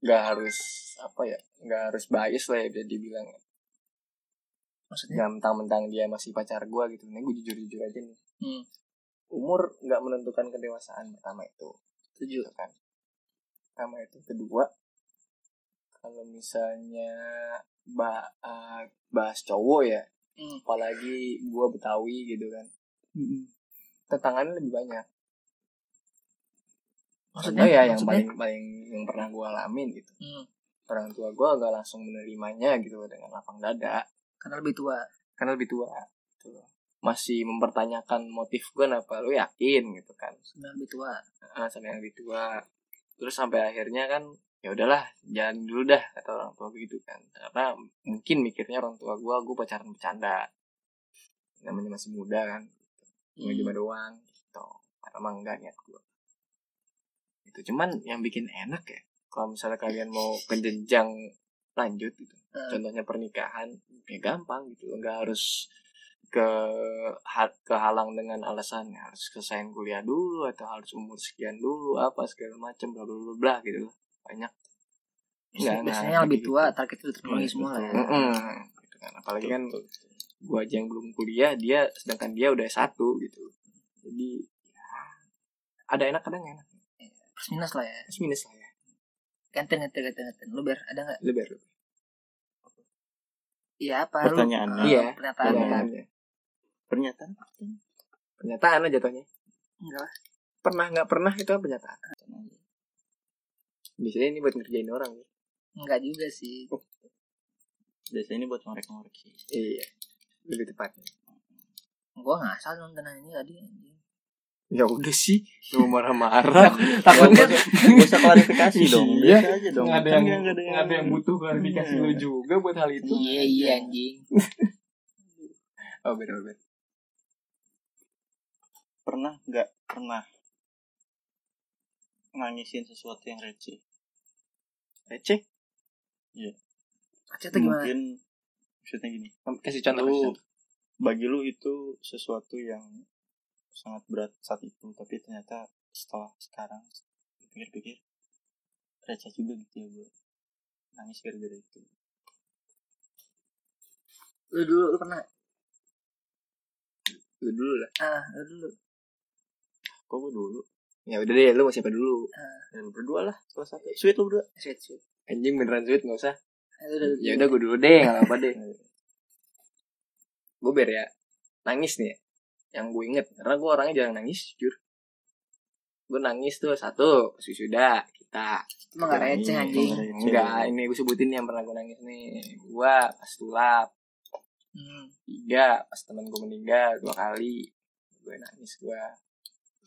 nggak harus apa ya nggak harus bias lah ya jadi bilang
maksudnya
nggak mentang-mentang dia masih pacar gua gitu ini gue jujur-jujur aja nih
Hmm.
umur nggak menentukan kedewasaan pertama itu
setuju
gitu kan pertama itu kedua kalau misalnya ba- eh, bahas cowok ya
Hmm.
apalagi gua betawi gitu kan tantangannya lebih banyak
maksudnya
maksudnya
Oh
ya yang
maksudnya?
paling paling yang pernah gua alamin gitu
Hmm.
orang tua gua agak langsung menerimanya gitu loh, dengan lapang dada
karena lebih tua
karena lebih tua gitu loh. masih mempertanyakan motif gue kenapa lu yakin gitu kan
karena lebih tua
ah, sama yang lebih tua terus sampai akhirnya kan ya udahlah jalan dulu dah kata orang tua gue gitu kan karena mungkin mikirnya orang tua gue gue pacaran bercanda namanya masih muda kan cuma
Hmm.
cuma doang gitu karena emang enggak niat gue itu cuman yang bikin enak ya kalau misalnya kalian mau ke jenjang lanjut gitu
Eh,
contohnya pernikahan ya gampang gitu nggak harus ke ha- kehalang dengan alasan harus selesaiin kuliah dulu atau harus umur sekian dulu apa segala macam bla bla bla bla gitu loh. banyak
biasanya,
Nggak,
biasanya
nggak,
lebih
gitu.
tua target itu terpenuhi
Betul.
semua lah ya
Mm-mm. gitu kan apalagi kan gua aja yang belum kuliah dia sedangkan dia udah satu gitu jadi ya, ada enak kadang nggak enak
plus minus lah ya
plus minus lah ya
ganten ganten ganten ganten lu ber ada nggak
lebih lebih
iya apa lu
pertanyaannya
eh,
Iya.
pernyataan
Pernyataan.
pernyataannya
pernyataan
pernyataan lah jatuhnya
enggak lah
pernah nggak pernah itu kan pernyataan biasanya ini buat ngerjain orang ya.
enggak juga sih
biasanya ini buat ngorek-ngorek sih
Iya. Lebih tepatnya.
gue nggak asal nonton ini tadi
Ya udah sih, lu marah-marah.
takutnya
gak usah klarifikasi dong
Iya.
biasa aja dong
Nggak ada yang
Kan nggak
nggak ada yang butuh klarifikasi
Iya.
lu juga buat hal itu.
iya iya anjing
Oh, benar benar.
pernah nggak pernah nangisin sesuatu yang receh receh
Aceh tuh gimana
mungkin maksudnya gini
Kasih
Lu-
contoh.
bagi lu itu sesuatu yang sangat berat saat itu tapi ternyata setelah sekarang pikir-pikir receh juga gitu ya gue nangis gara-gara itu
lu dulu lu pernah
Lu dulu lah.
ah lu dulu
kok gue dulu
Ya udah deh, lu mau siapa dulu?
ya, lu berdua lah salah satu sweet lu berdua
sweet sweet
Anjing beneran sweet enggak usah.
Eh, lu dulu
Ya udah gua dulu deh, enggak apa-apa deh. Gua ber ya. Nangis nih ya. Yang gue inget karena gue orangnya jarang nangis jujur gue nangis tuh satu sudah kita Hmm,
cuma nggak receh
Iya,
Nangis,
anjing
nggak receh.
enggak ini gue sebutin yang pernah gue nangis nih gue pas tulap
Hmm.
tiga pas temen gue meninggal dua kali gue nangis gue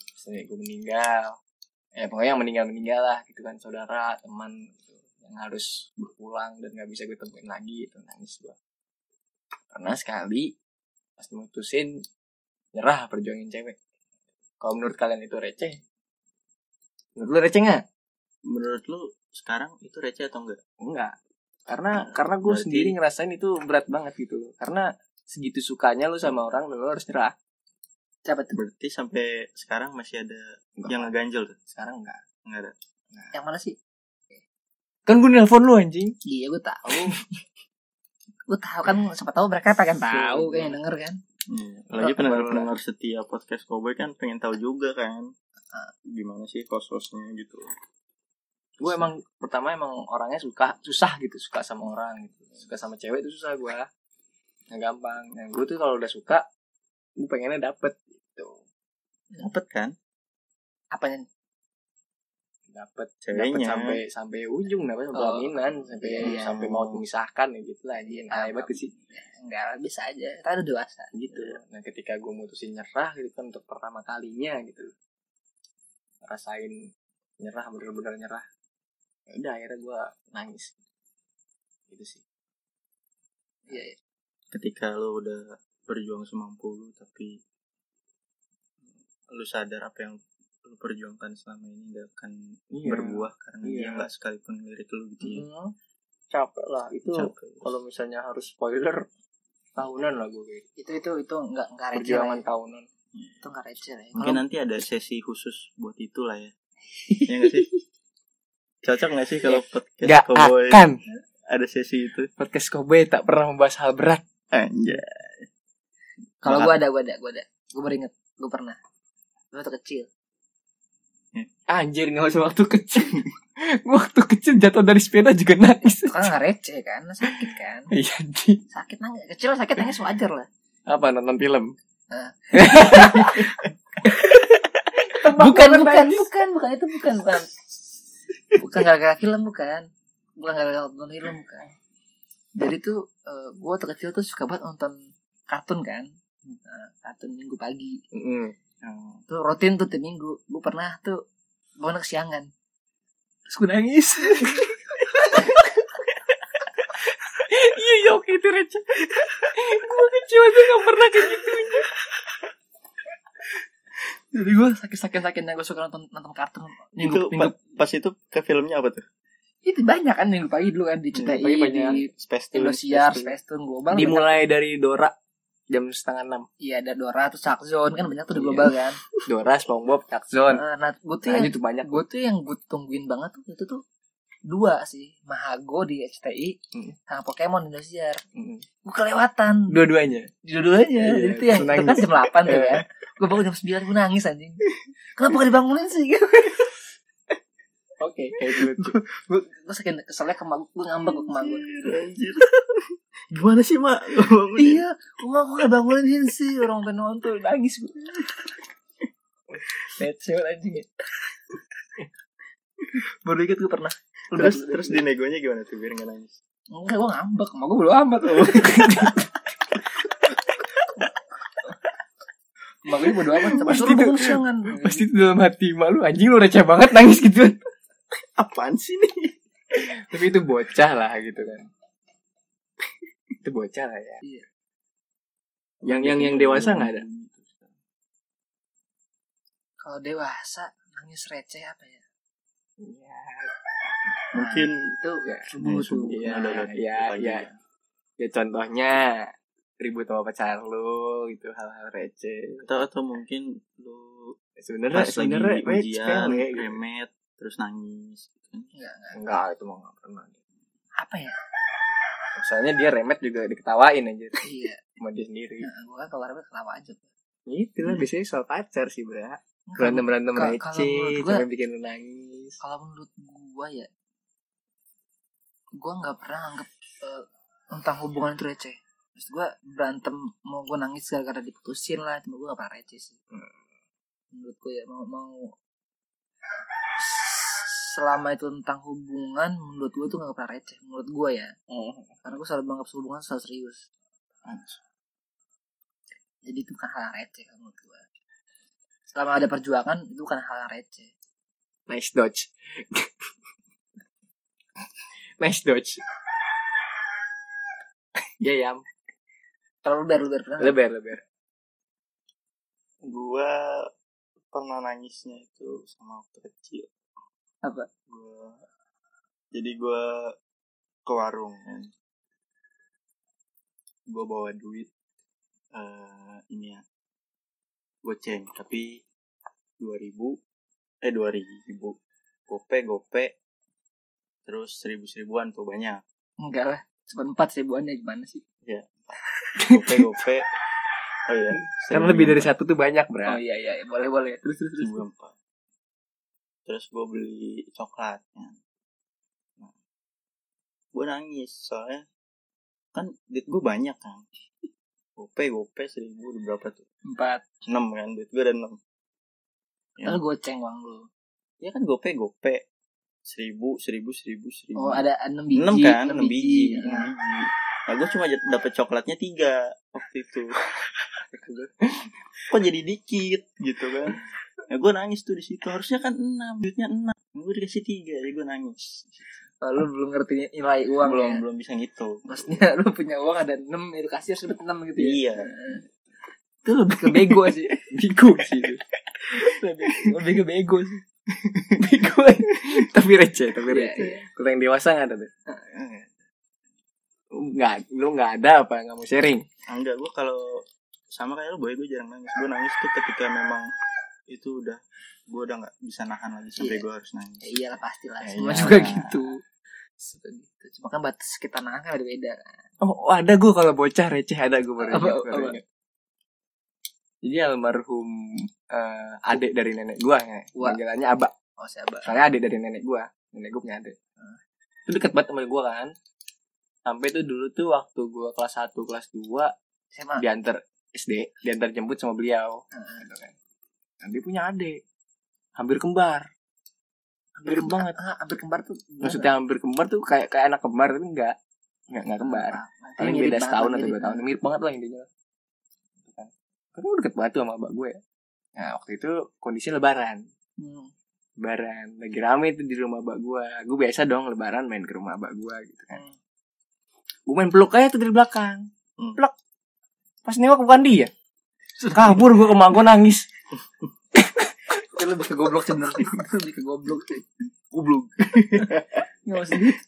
pas nenek gue meninggal ya pokoknya yang meninggal meninggal lah gitu kan saudara teman gitu, yang harus berpulang dan nggak bisa gue temuin lagi itu nangis gue pernah sekali pas mutusin nyerah perjuangin cewek kalau menurut kalian itu receh menurut lu receh nggak
Menurut lu sekarang itu receh atau enggak?
enggak karena karena gue
Berarti-
sendiri ngerasain itu berat banget gitu loh karena segitu sukanya lu sama orang dan lu harus nyerah
Siapa tuh?
Berarti sampai sekarang masih ada
Enggak.
yang ngeganjel tuh?
sekarang enggak
Enggak ada.
Yang mana sih?
kan gue nelfon lu anjing
Iya gue tahu. gue tahu kan siapa tahu mereka pengen tahu kayak denger kan.
Iya. Lagi
Enggak,
pendengar-pendengar setia podcast Cowboy kan pengen tahu juga kan gimana sih kososnya gitu.
gue emang pertama emang orangnya suka susah gitu suka sama orang gitu suka sama cewek itu susah gue nggak gampang nah gue tuh kalau udah suka gue pengennya dapet gitu
Dapet kan
Apanya?
dapet dapet
ceweknya.
sampai sampai ujung dapet sampai
Oh.
pelaminan sampai
Iya.
sampai mau memisahkan ya gitu lah anjing nah, hebat tuh sih
Enggak lah, bisa aja. Kita udah dewasa.
gitu nah ketika gue mutusin nyerah gitu kan untuk pertama kalinya gitu rasain nyerah bener-bener nyerah ya udah akhirnya gue nangis gitu sih
Iya, iya.
Ketika lu udah berjuang semampu lu tapi lu sadar apa yang lu perjuangkan selama ini gak akan
Iya.
berbuah karena
Iya.
dia gak sekalipun lirik lu gitu ya.
Hmm, capek lah itu
Capek.
kalau misalnya harus spoiler tahunan lah gue kayak
Itu itu itu enggak enggak receh. lah
perjuangan
ya.
tahunan
Itu enggak receh lah. ya.
Mungkin nanti ada sesi khusus buat itu lah ya. Iya gak sih? Cocok gak sih
Iya.
kalau podcast Cowboy ada sesi itu?
podcast kobe tak pernah membahas hal berat
Anjay. Nah,
Kalau gue ada, gue ada, gue ada. Gue baru inget, gue pernah. Gue waktu kecil.
anjir nggak usah waktu kecil waktu kecil jatuh dari sepeda juga nangis
Itu kan nggak receh kan, sakit kan.
iya Ji.
Sakit nangis, kecil sakit nangis wajar lah.
apa nonton film
bukan, bukan, bukan, bukan, itu bukan, bukan. Bukan gara-gara film, bukan. Bukan gara-gara nonton film, bukan. Jadi tuh, gue waktu kecil tuh suka banget nonton kartun kan. Nah, kartun minggu pagi. Tuh rutin tuh tiap minggu. Gue pernah tuh, bangun kesiangan. Terus gue nangis.
iya iya oke itu receh gue kecil aja nggak pernah kayak gitu
Jadi gue sakit-sakit sakitnya gue suka nonton nonton kartun minggu
itu
minggu
pa- pas itu ke filmnya apa tuh?
itu banyak kan minggu pagi dulu kan di CTI
Minggu Hmm, pagi
di
Space Tune.
Indosiar,
Space Tune.
Spacetoon Global. banyak.
dimulai dari Dora jam setengah enam
Iya ada Dora terus Sakzon kan banyak tuh
Iya.
di global kan.
Dora SpongeBob Jackson
Nah, nah gue tuh yang,
lanjut tuh banyak
gue tuh yang gue tungguin banget tuh itu tuh dua sih Mahago di CTI
Hmm.
sama Pokemon di Indosiar.
Mm.
Gue kelewatan
dua-duanya
judulnya.
Iya,
Jadi tuh yang itu
nangis.
kan jam 8 tuh
Iya.
ya. Gue bangun jam 9 gue nangis anjing. Kenapa gak dibangunin sih?
oke kayak gitu. itu lucu.
gue gue saking keselnya ke mak gue ngambek ke mak
Iya.
gue.
Anjir. Gimana sih, Mak?
iya rumah gue gak bangunin sih orang gue nonton nangis gue Receh banget anjing ya baru inget gue pernah Lu
terus
udah-
terus di negonya gimana tuh biar enggak nangis?
enggak gue ngambek mau gue belum amat loh Mak gue bodo amat sama
Pasti
suruh
tuh-
bangun siangan
pasti itu dalam hati malu anjing lu receh banget nangis gitu
Apaan sih nih?
tapi itu bocah lah gitu kan itu bocah lah ya
Iya.
yang yang yang dewasa nggak ada
Kalau dewasa nangis receh apa ya
Iya.
Mungkin
Itu
Ya,
subuh tuh
subuh.
Iya,
Ada- ada-
iya,
pagi.
iya. ya contohnya ribut sama pacar lu itu hal-hal receh Ya,
atau atau mungkin lu
sebenarnya
pas
sebenarnya
lagi
wait,
ujian,
sepele gitu.
remet, terus nangis. gitu kan.
enggak itu mah nggak pernah
Apa ya
soalnya dia remet juga diketawain aja
Iya
sama dia sendiri Hmm.
nah, Gue kan kalau remeh ketawa aja
itu lah Ya, biasanya soal pacar sih bra
Enggak,
berantem berantem
Ka- kalau menurut
receh
gua-
sampai bikin lu nangis
kalau menurut gua ya gua nggak pernah anggap eh, tentang hubungan itu receh terus gua berantem mau gua nangis gara-gara diputusin lah cuma gua gak pernah receh sih menurut gua ya mau mau selama itu tentang hubungan menurut gua tuh gak pernah receh menurut gua ya karena gua selalu menganggap hubungan selalu serius jadi itu bukan hal yang receh kalau menurut gua selama ada perjuangan itu bukan hal yang receh
Nice dodge. nice dodge. ya ya,
Kalau lu ber, lu ber pernah nggak?
lebar lebar.
Gua pernah nangisnya itu sama waktu kecil.
Apa?
Gua jadi gua ke warung kan. Gua bawa duit eh ini ya. Goceng tapi 2000 eh 2000 gope gope terus seribu seribuan tuh banyak
Enggak lah. Cuma empat ribuan ya gimana sih?
gope gope oh iya
Kan lebih dari satu tuh banyak,
Oh
Bra.
iya iya, iya. boleh boleh. Terus terus terus.
seribu empat terus gue beli coklatnya nah, gue nangis soalnya kan duit gue banyak kan gope gope seribu udah berapa tuh
Empat.
enam kan duit gue ada enam
Lalu goceng uang lu.
ya kan gope gope seribu seribu seribu
Iya.
seribu
Oh ada enam biji.
enam kan enam biji,
ya.
enam biji. Nah, gue cuma j- dapet coklatnya tiga waktu itu. Kok jadi dikit gitu kan? Nah, gue nangis tuh di situ. Harusnya kan enam, duitnya enam. Gue dikasih tiga, jadi gue nangis.
Oh, lu belum ngerti nilai uang
belum
ya?
belum bisa gitu.
Maksudnya lu punya uang ada enam, edukasi harus dapat enam gitu ya?
Iya.
Itu lebih ke bego sih.
Bego sih. itu.
lebih, lebih ke bego sih.
Bego. tapi receh, tapi
Iya,
receh.
iya.
Kurang dewasa nggak tapi?
Eh,
Nggak, lu nggak ada apa nggak mau sharing?
Enggak, gue kalau sama kayak lo, boy gue jarang nangis. Gue nangis tuh ketika memang itu udah gue udah nggak bisa nahan lagi sampai
Iya.
gue harus nangis.
Ya, iyalah pastilah.
Iya.
Ya,
Semua
iyalah.
juga gitu. Suka gitu. Cuma kan batas kita nahan kan beda-beda.
Oh, ada gue kalau bocah receh ada gue baru
Apa-
ingat, baru
apa?
ingat. Jadi almarhum eh, adik dari nenek gue ya.
Wah.
Panggilannya Aba.
Oh siapa?
Soalnya adik dari nenek gue. Nenek gue punya adik. Itu deket banget sama gue kan. Sampai tuh dulu tuh waktu gue kelas 1, kelas 2
Siapa?
diantar SD, diantar jemput sama beliau. Gitu kan. Dan dia punya adik. Hampir kembar. Hampir banget.
Ah, hampir kembar tuh. gimana?
Maksudnya hampir kembar tuh kayak kayak anak kembar tapi enggak. Enggak, enggak kembar.
Ah, ah,
Paling
mirip
beda
banget,
setahun atau
mirip
dua tahun Mirip banget lah intinya Gitu kan. Karena gue deket banget tuh sama abah gue Nah waktu itu kondisi lebaran
Hmm.
Lebaran Lagi rame tuh di rumah abah gue Gue biasa dong lebaran main ke rumah abah gue gitu kan
Hmm.
Gue main peluk aja tuh dari belakang
Hmm.
Peluk Pas nengok bukan dia Kabur gue ke emak gue nangis
Itu Kan lebih ke goblok cenderung. Itu lebih ke goblok sih.
Goblok
Nggak usah gitu.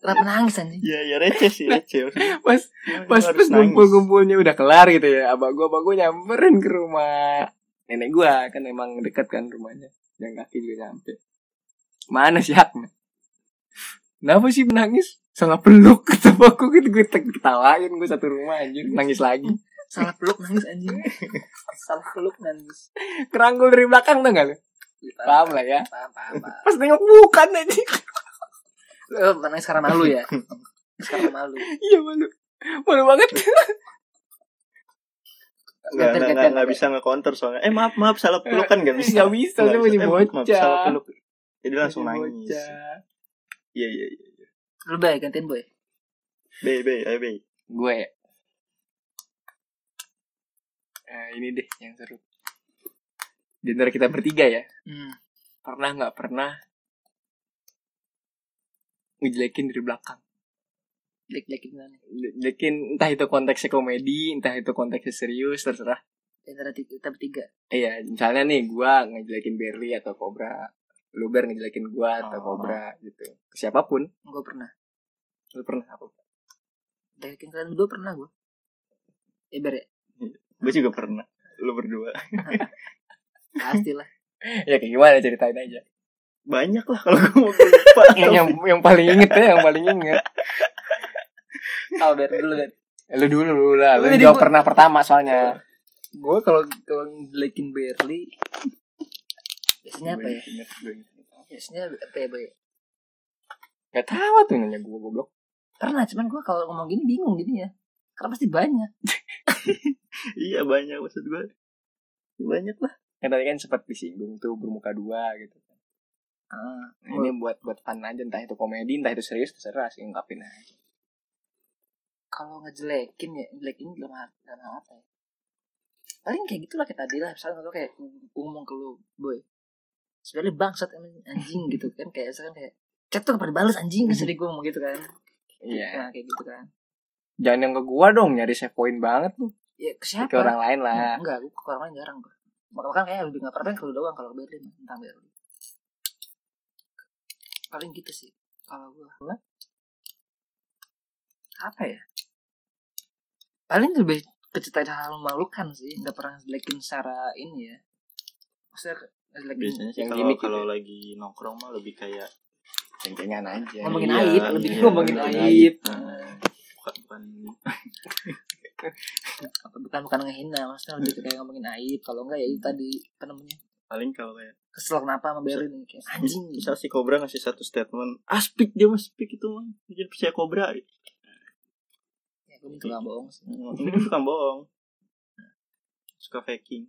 Kenapa nangis anjing?
Iya, ya receh sih, receh.
Pas pas pas ngumpul-ngumpulnya udah kelar gitu ya abah gue abah gue nyamperin ke rumah nenek gue kan emang dekat kan rumahnya yang kaki juga nyampe mana si Hakna kenapa sih menangis salah peluk sama aku gitu gue te- ketawain gue satu rumah anjir nangis lagi
Salah peluk nangis anjing. Salah peluk nangis.
kerangkul dari belakang tuh gak lu
Iya,
paham lah ya
Paham, paham, paham.
pas nengok bukan anjir
Lu nangis karena malu ya? Sekarang malu.
iya malu malu banget
Iya, Nggak,
Gantian,
nggak,
gantian,
nggak
gantian.
bisa nge-counter soalnya. Eh maaf, maaf, salah peluk kan nggak bisa.
Nggak bisa, dia masih
Eh, maaf, maaf,
bocah.
salah peluk. Jadi langsung nangis.
Bocah.
Iya, iya, iya.
Lu bay gantiin boy.
Be, be, ayo be.
gue ya Eh, ini deh yang seru di antara kita bertiga ya
Hmm.
pernah nggak pernah ngejelekin dari belakang
Lek-lekin gimana?
jelekin entah itu konteksnya komedi entah itu konteksnya serius terserah
Di antara ti- kita bertiga.
iya misalnya nih gue ngejelekin Berli atau Cobra lu Ber ngejelekin gue atau
Oh.
Cobra gitu siapapun
Gue pernah.
lu pernah apa
Lekin kalian berdua pernah gue. Eber ya?
Gue juga pernah. Lu berdua.
Pastilah.
ya kayak gimana ceritain aja
Banyak lah kalau gue mau gue lupa.
yang, yang yang paling inget ya yang paling inget
Tahu ber dulu ber.
Lu dulu lah, lu
Udah,
jawab
gua-
pernah pertama soalnya.
Gue kalau kalau ngejelekin Berli biasanya
Iya,
apa ya? Biasanya apa ya boy?
Gak tahu tuh nanya gua goblok.
Pernah, cuman gue kalau ngomong gini bingung jadinya. Karena pasti banyak.
Iya, banyak maksud gue. Banyak lah.
Kan tadi kan sempat disinggung tuh bermuka dua gitu.
Ah,
Nah, ini buat buat fun aja entah itu komedi entah itu serius terserah sih Iya. ungkapin aja.
kalau ngejelekin ya, ngejelekin dalam hal, dalam hal apa ya? Paling kayak gitulah kayak tadi lah. Misalnya gue kayak ngomong ke lu, boy. sebenarnya bangsat emang anjing gitu kan kayak misalkan kayak chat tuh kepada balas anjing sering gue ngomong gitu kan
Mhm. Iya.
nah kayak gitu kan
Jangan yang ke gua dong nyari save point banget tuh.
ya ke siapa
Ke orang lain
Nah.
lah.
enggak gue ke orang lain jarang gue Maka- makan kayak lebih nggak pernah ke lu doang kalau ke Berlin tentang Berlin paling gitu sih kalau gue apa ya paling lebih kecetain hal memalukan sih nggak pernah ngejelekin secara ini ya maksudnya ngejelekin
biasanya sih
Yang
kalau
gimmick gitu
kalau
ya.
lagi nongkrong mah lebih kayak
Cengcengan aja.
Ngomongin
Iya,
aib, lebih
iya,
ngomongin
ngomongin
aib.
Nah, bukan bukan
apa bukan bukan ngehina maksudnya lebih ke kayak ngomongin aib kalau enggak ya
Hmm.
itu tadi apa namanya
paling kalau kayak
kesel kenapa sama Berlin kayak anjing
misal si Cobra ngasih satu statement ah speak dia mah speak itu mah bikin percaya Cobra
ya gue itu nggak bohong sih
Hmm, ini suka bohong suka faking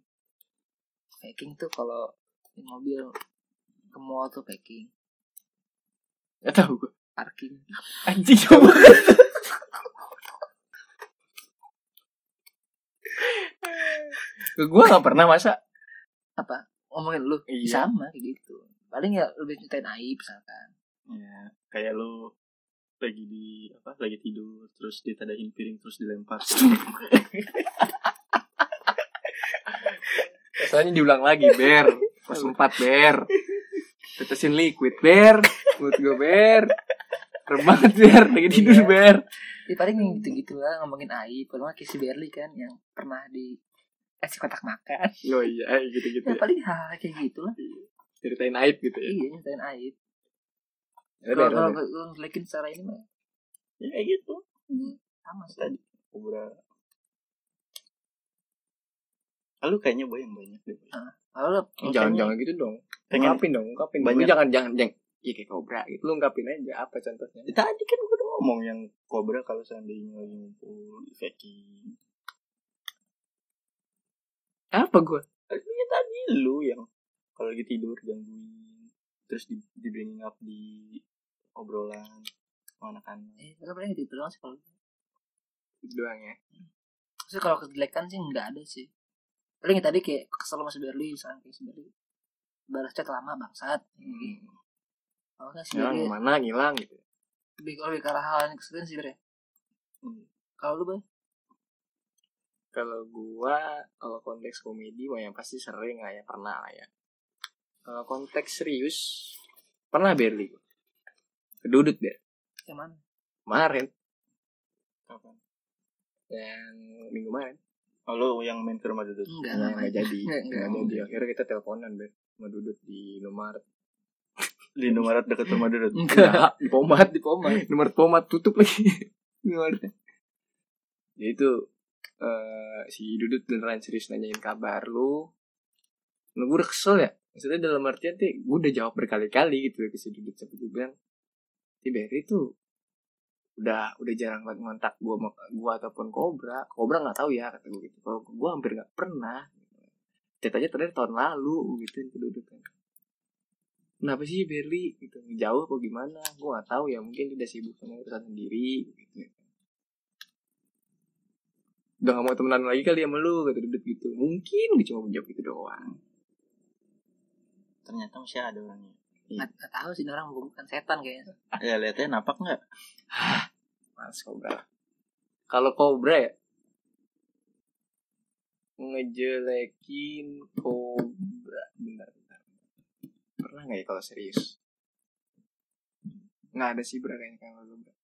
packing tuh kalau di mobil ke mall tuh packing
Gak tau gua.
parking
Anjing coba. gua gak pernah masa
apa ngomongin lu
Iya.
sama kayak gitu paling ya lebih ceritain aib misalkan
ya kayak lu lagi di apa lagi tidur terus ditadain piring terus dilempar Gitu.
Soalnya diulang lagi, Ber. Pas empat, Ber. Tetesin liquid, Ber. Buat gue, Ber. Serem banget, Ber. Lagi tidur,
Iya.
Ber.
ya paling
Hmm.
yang gitu-gitu lah ngomongin aib kalau nggak kayak si Berli kan yang pernah di kasih kotak makan
Oh iya, eh, gitu-gitu.
ya
ya.
paling hal kayak gitu lah
Ceritain aib gitu ya.
iya ceritain aib
Ada,
kalau
ada,
kalau
ada.
lu ngejelekin secara ini mah
ya kayak gitu
sama sih
tadi Cobra Ah, lu kayaknya boy yang banyak deh Boy.
kalau lu-
Jangan, jangan gitu dong.
pengen
Ungkapin dong, ungkapin. Lu
Banyak.
jangan, jangan, jangan. Iya kayak kobra gitu. Lu ungkapin aja apa contohnya.
Eh, tadi kan gue udah ngomong yang Cobra kalau seandainya lagi ngumpul di faking
Apa gue?
Artinya tadi lu yang kalau lagi tidur gangguin terus di, di bringing up di obrolan sama anak-anak
eh
Iya.
gue paling gitu doang sih kalau
Gitu doang ya.
Maksudnya kalau kejelekan sih nggak ada sih. Paling yang tadi kayak kesel sama si Berli, misalnya kayak si Berli. Balas chat lama bangsat.
Hmm.
Kalau nggak si
Ngilang
Berli,
kemana, ngilang gitu.
lebih kalau lebih ke arah hal yang keselin sih Berli.
Hmm.
Kalau lu bang,
Kalau gua kalau konteks komedi mah yang pasti sering lah ya pernah lah ya. Kalau konteks serius pernah Berli. gua. Kedudut deh
yang mana?
kemarin
kapan
yang minggu kemarin
oh, lu yang main ke rumah Dudut
Enggak,
nggak nggak jadi
Nggak,
nggak
nggak.
jadi akhirnya kita teleponan Ber sama Dudut di nomor
di Indomaret deket rumah Dudut
enggak di pomat di pomat nomor pomat tutup lagi nomornya ya itu eh, si Dudut beneran serius nanyain kabar lu lu gue udah kesel ya maksudnya dalam artian tuh gue udah jawab berkali-kali gitu ke si Dudut sampai gue bilang si Berry tuh udah udah jarang banget ngontak gue gua ataupun Cobra Cobra nggak tahu ya kata gue gitu kalau gue hampir nggak pernah chat aja terakhir tahun lalu gitu ke Dudut kan kenapa sih Berli gitu jauh apa gimana gue nggak tahu ya mungkin dia udah sibuk sama urusan sendiri gitu udah gak mau temenan lagi kali sama lu kata Dudut gitu mungkin dia cuma menjawab gitu doang
ternyata masih ada orangnya
Nggak, nggak tahu sih ini orang bukan, bukan setan kayaknya.
ya lihatnya napak nggak
Mas Cobra kalau Cobra ya ngejelekin Cobra bentar bentar pernah nggak ya kalau serius nggak ada sih Bra kayaknya kalau lu Bra.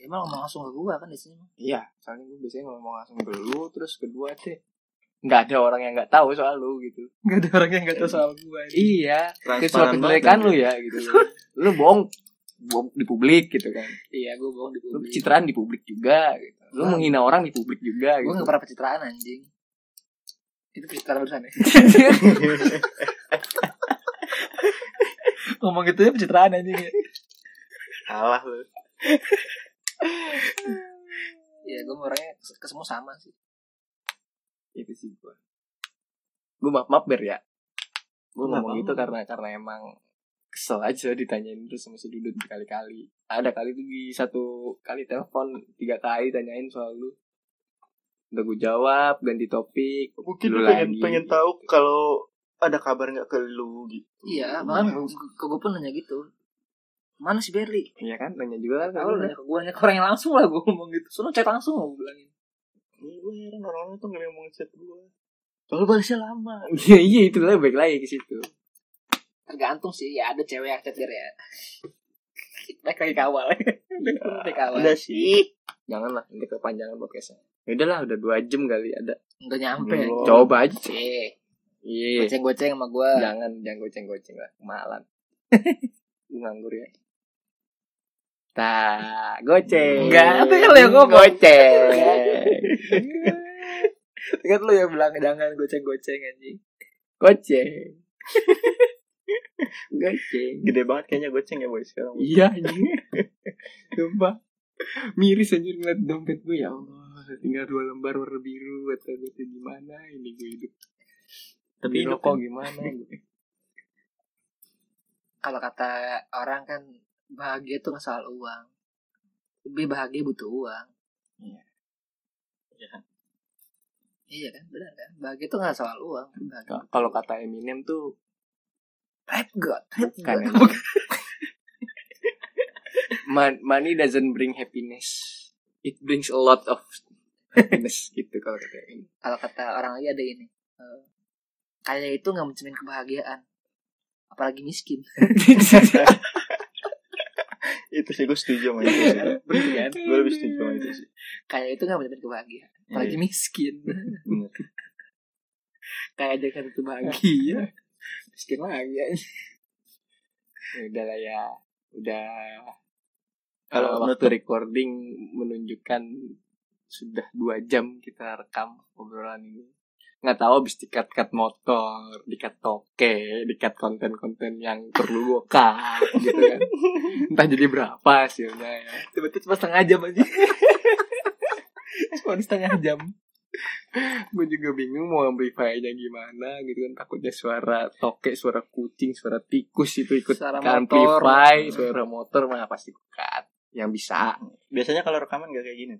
Ya emang ngomong langsung ke gua kan di sini.
Iya, soalnya gue biasanya ngomong langsung ke lu, terus kedua teh nggak ada orang yang nggak tahu soal lu gitu.
Nggak ada orang yang nggak tahu soal gua.
Iya, ke soal
banget
kejelekan
dan
lu ya gitu. lu bohong, bohong di publik gitu kan.
Iya, gua bohong di
Lu
publik.
pencitraan di publik juga gitu. Lu
Wah.
menghina orang di publik juga
Gua
gitu.
nggak pernah pencitraan anjing. Itu pencitraan barusan ya. Ngomong gitu ya pencitraan anjing ya.
salah lu
Iya, gua mah orangnya ke ke semua sama sih.
Iya, Itu sih gua. Gua maaf-maaf ber ya. Gua
Nggak
ngomong
apa-apa.
gitu karena karena emang kesel aja ditanyain terus sama si Dudut berkali-kali. Ada kali tuh di satu kali telepon tiga kali tanyain soal lu. Udah gue jawab, ganti topik.
mungkin
Lu
lu pengen
lagi.
pengen tahu kalau ada kabar nggak ke lu gitu
Iya, bahkan ke gue pun nanya gitu. Mana si Berli?
Iya kan, nanya juga kan.
Kalau nanya ke gue, nanya ke orang yang langsung lah gue ngomong gitu. Soalnya chat langsung gue bilangin.
Ini gue heran orang-orang tuh nggak mau ngechat gue Soalnya balasnya lama
Iya, iya itu lah baik lagi ke situ.
Tergantung sih, ya ada cewek yang chat dia ya. Baik lagi ke awal. Baik ke awal.
Ada Iya. sih
Janganlah nanti kepanjangan podcastnya. Ya udahlah, udah dua jam kali ada.
Nggak nyampe.
Belum.
Coba aja.
Cek.
Oh. Iya.
Goceng-goceng sama gue.
Jangan jangan goceng-goceng lah, malan. Lu nganggur ya. Tah, goceng.
Enggak, itu kan lu yang ngomong.
Goceng.
Ingat lu yang bilang jangan goceng-goceng anjing.
Goceng. goceng.
Gede banget kayaknya goceng ya boy sekarang
Iya anjing. Sumpah. Miris anjir ngeliat dompet gue ya Allah. Tinggal dua lembar warna biru atau gue tuh gimana ini gue hidup.
Tapi
Beli
hidup
rokok
kan?
gimana gue.
Kalau kata orang kan bahagia tuh nggak soal uang. Lebih bahagia butuh uang.
Iya. Iya.
Iya kan, benar kan? Bahagia tuh nggak soal uang. Bahagia.
Ka- Kalau kata Eminem tuh
Rap God, rap
bukan.
God.
anjing. Man- money doesn't bring happiness. It brings a lot of happiness gitu kalau kata ini.
kalau kata orang lagi ada ini eh, kaya itu nggak mencermin kebahagiaan apalagi miskin
Itu sih gue setuju sama itu sih
kan?
Gue lebih setuju sama itu sih
kaya itu nggak mencermin kebahagiaan apalagi
Iya,
miskin
bener.
kaya aja kan itu bahagia miskin lagi ya.
Ya udah lah ya. Udah
Kalau
kalau
menutup.
waktu recording menunjukkan sudah dua jam kita rekam obrolan ini. Nggak tahu habis dikat-kat motor, dikat toke, dikat konten-konten yang perlu gue cut gitu kan. Entah jadi berapa hasilnya ya.
tiba-tiba cuma setengah jam aja cuma setengah jam
Gue juga bingung mau amplify-nya gimana gitu kan. Takutnya suara toke, suara kucing, suara tikus itu ikut
Suara
ke
motor.
amplify, suara motor mah pasti gue cut. Yang bisa.
Biasanya kalau rekaman gak kayak gini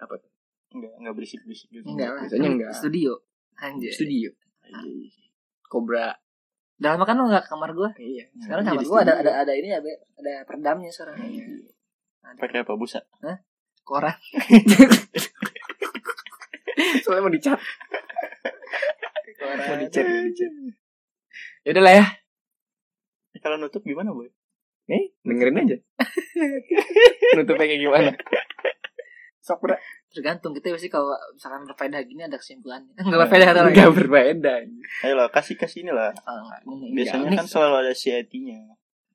Apa
tuh? Nggak, nggak berisik-berisik gitu
enggak lah
Biasanya enggak.
Hmm. studio anjir
Studio. Iya. Kobra.
dalam kan lu nggak ke kamar gua
Iya.
sekarang
Jadi
kamar gua ada
studio.
ada ada ini ya Be. ada peredamnya suaranya ada
Pakai apa? Busa?
koran
Soalnya mau dicat.
koran
Mau dicat. Ya udah lah ya.
Eh, Kalau nutup gimana boy?
Eh, dengerin aja. Nutupnya kayak gimana? Sok berat.
tergantung kita pasti kalau misalkan berbeda gini ada kesimpulannya nggak berbeda kata orang
Enggak berbeda.
Ayo lah, kasih-kasih ini lah
Oh, enggak. Ini,
Biasanya
ini
kan selalu ada CIT-nya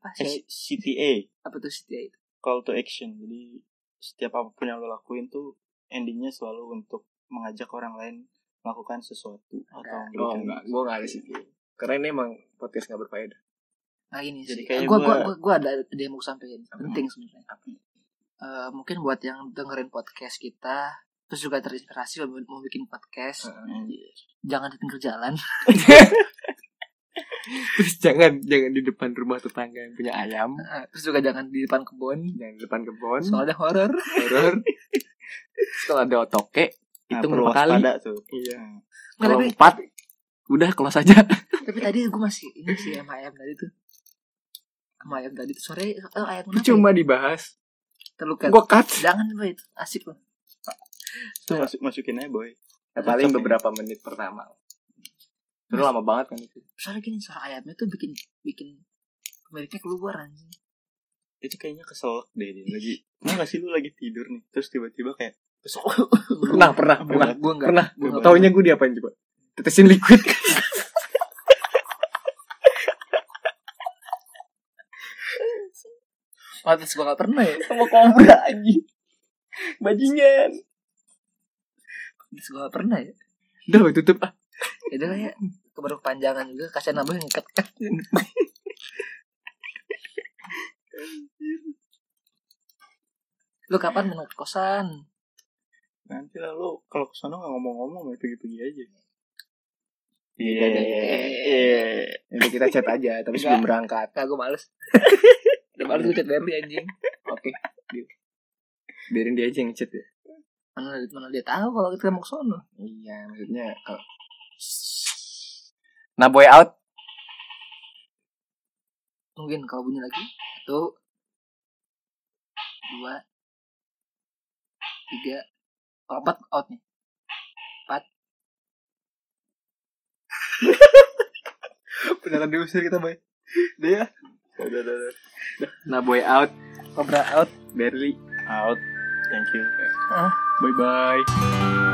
apa sih?
Eh, CTA
Apa tuh setia itu?
call to action jadi setiap apapun yang lo lakuin tuh endingnya selalu untuk mengajak orang lain melakukan sesuatu atau
Enggak.
Oh,
memberikan-
enggak. Gue enggak ada sih. Karena ini emang podcast enggak berfaedah.
Nah ini sih.
Jadi kayaknya
Gue gua,
gua-
gua, gua ada ada yang mau sampaikan. Penting sebenarnya. Eh, mungkin buat yang dengerin podcast kita terus juga terinspirasi mau, mau bikin podcast
Anjir.
jangan di pinggir jalan
Terus jangan jangan di depan rumah tetangga yang punya ayam,
Eh, terus juga jangan di depan kebun
jangan di depan kebun,
soalnya horor
horor. Setelah ada otoke,
Nah,
hitung
perlu
berapa kali?
waspada tuh
Iya.
Nah,
Nggak,
Kalau
tapi,
empat, udah kelas aja.
tapi tadi gue masih ini sih sama ayam tadi tuh sama ayam tadi tuh sore eh, ayam kenapa ya?
Cuma dibahas.
terluka
Gue cut.
jangan Be, itu asik loh
itu masuk masukin aja boy
Ya, paling beberapa menit pertama. Itu lama banget kan itu.
soalnya gini suara ayamnya tuh bikin bikin pemiliknya keluar anjing
itu kayaknya kesel deh dia lagi mau nggak sih lu lagi tidur nih terus tiba-tiba kayak kesel
Pernah, pernah,
Apa
pernah.
ya?
Gue enggak. Pernah.
Gua
Gua
nggak.
Taunya gue diapain coba? Tetesin liquid.
Pantes gue gak pernah ya
Sama kobra anjing. Bajingan.
Pantes gue gak pernah ya
Udah gua tutup ah.
Jadi lah ya Kebaru panjangan juga Kasian nambah ngikat kan Lu kapan mau ke kosan?
nanti lah lu kalau kesana nggak ngomong-ngomong ya pergi-pergi aja
Iya, iya, iya. Nanti kita chat aja tapi sebelum berangkat.
Kagak gue males Udah males gue chat Berli anjing
Oke. deal. Biarin dia aja yang chat ya.
Mana, mana dia tahu kalau kita mau ke sono
Iya, maksudnya kalau Nah boy out
Mungkin kalau bunyi lagi Satu Dua Tiga Kalau empat out nih
Beneran diusir kita, Bay. Dia. Udah, ya. udah, udah.
Nah boy out
Cobra out
Barely
Out. Thank you.
Bye bye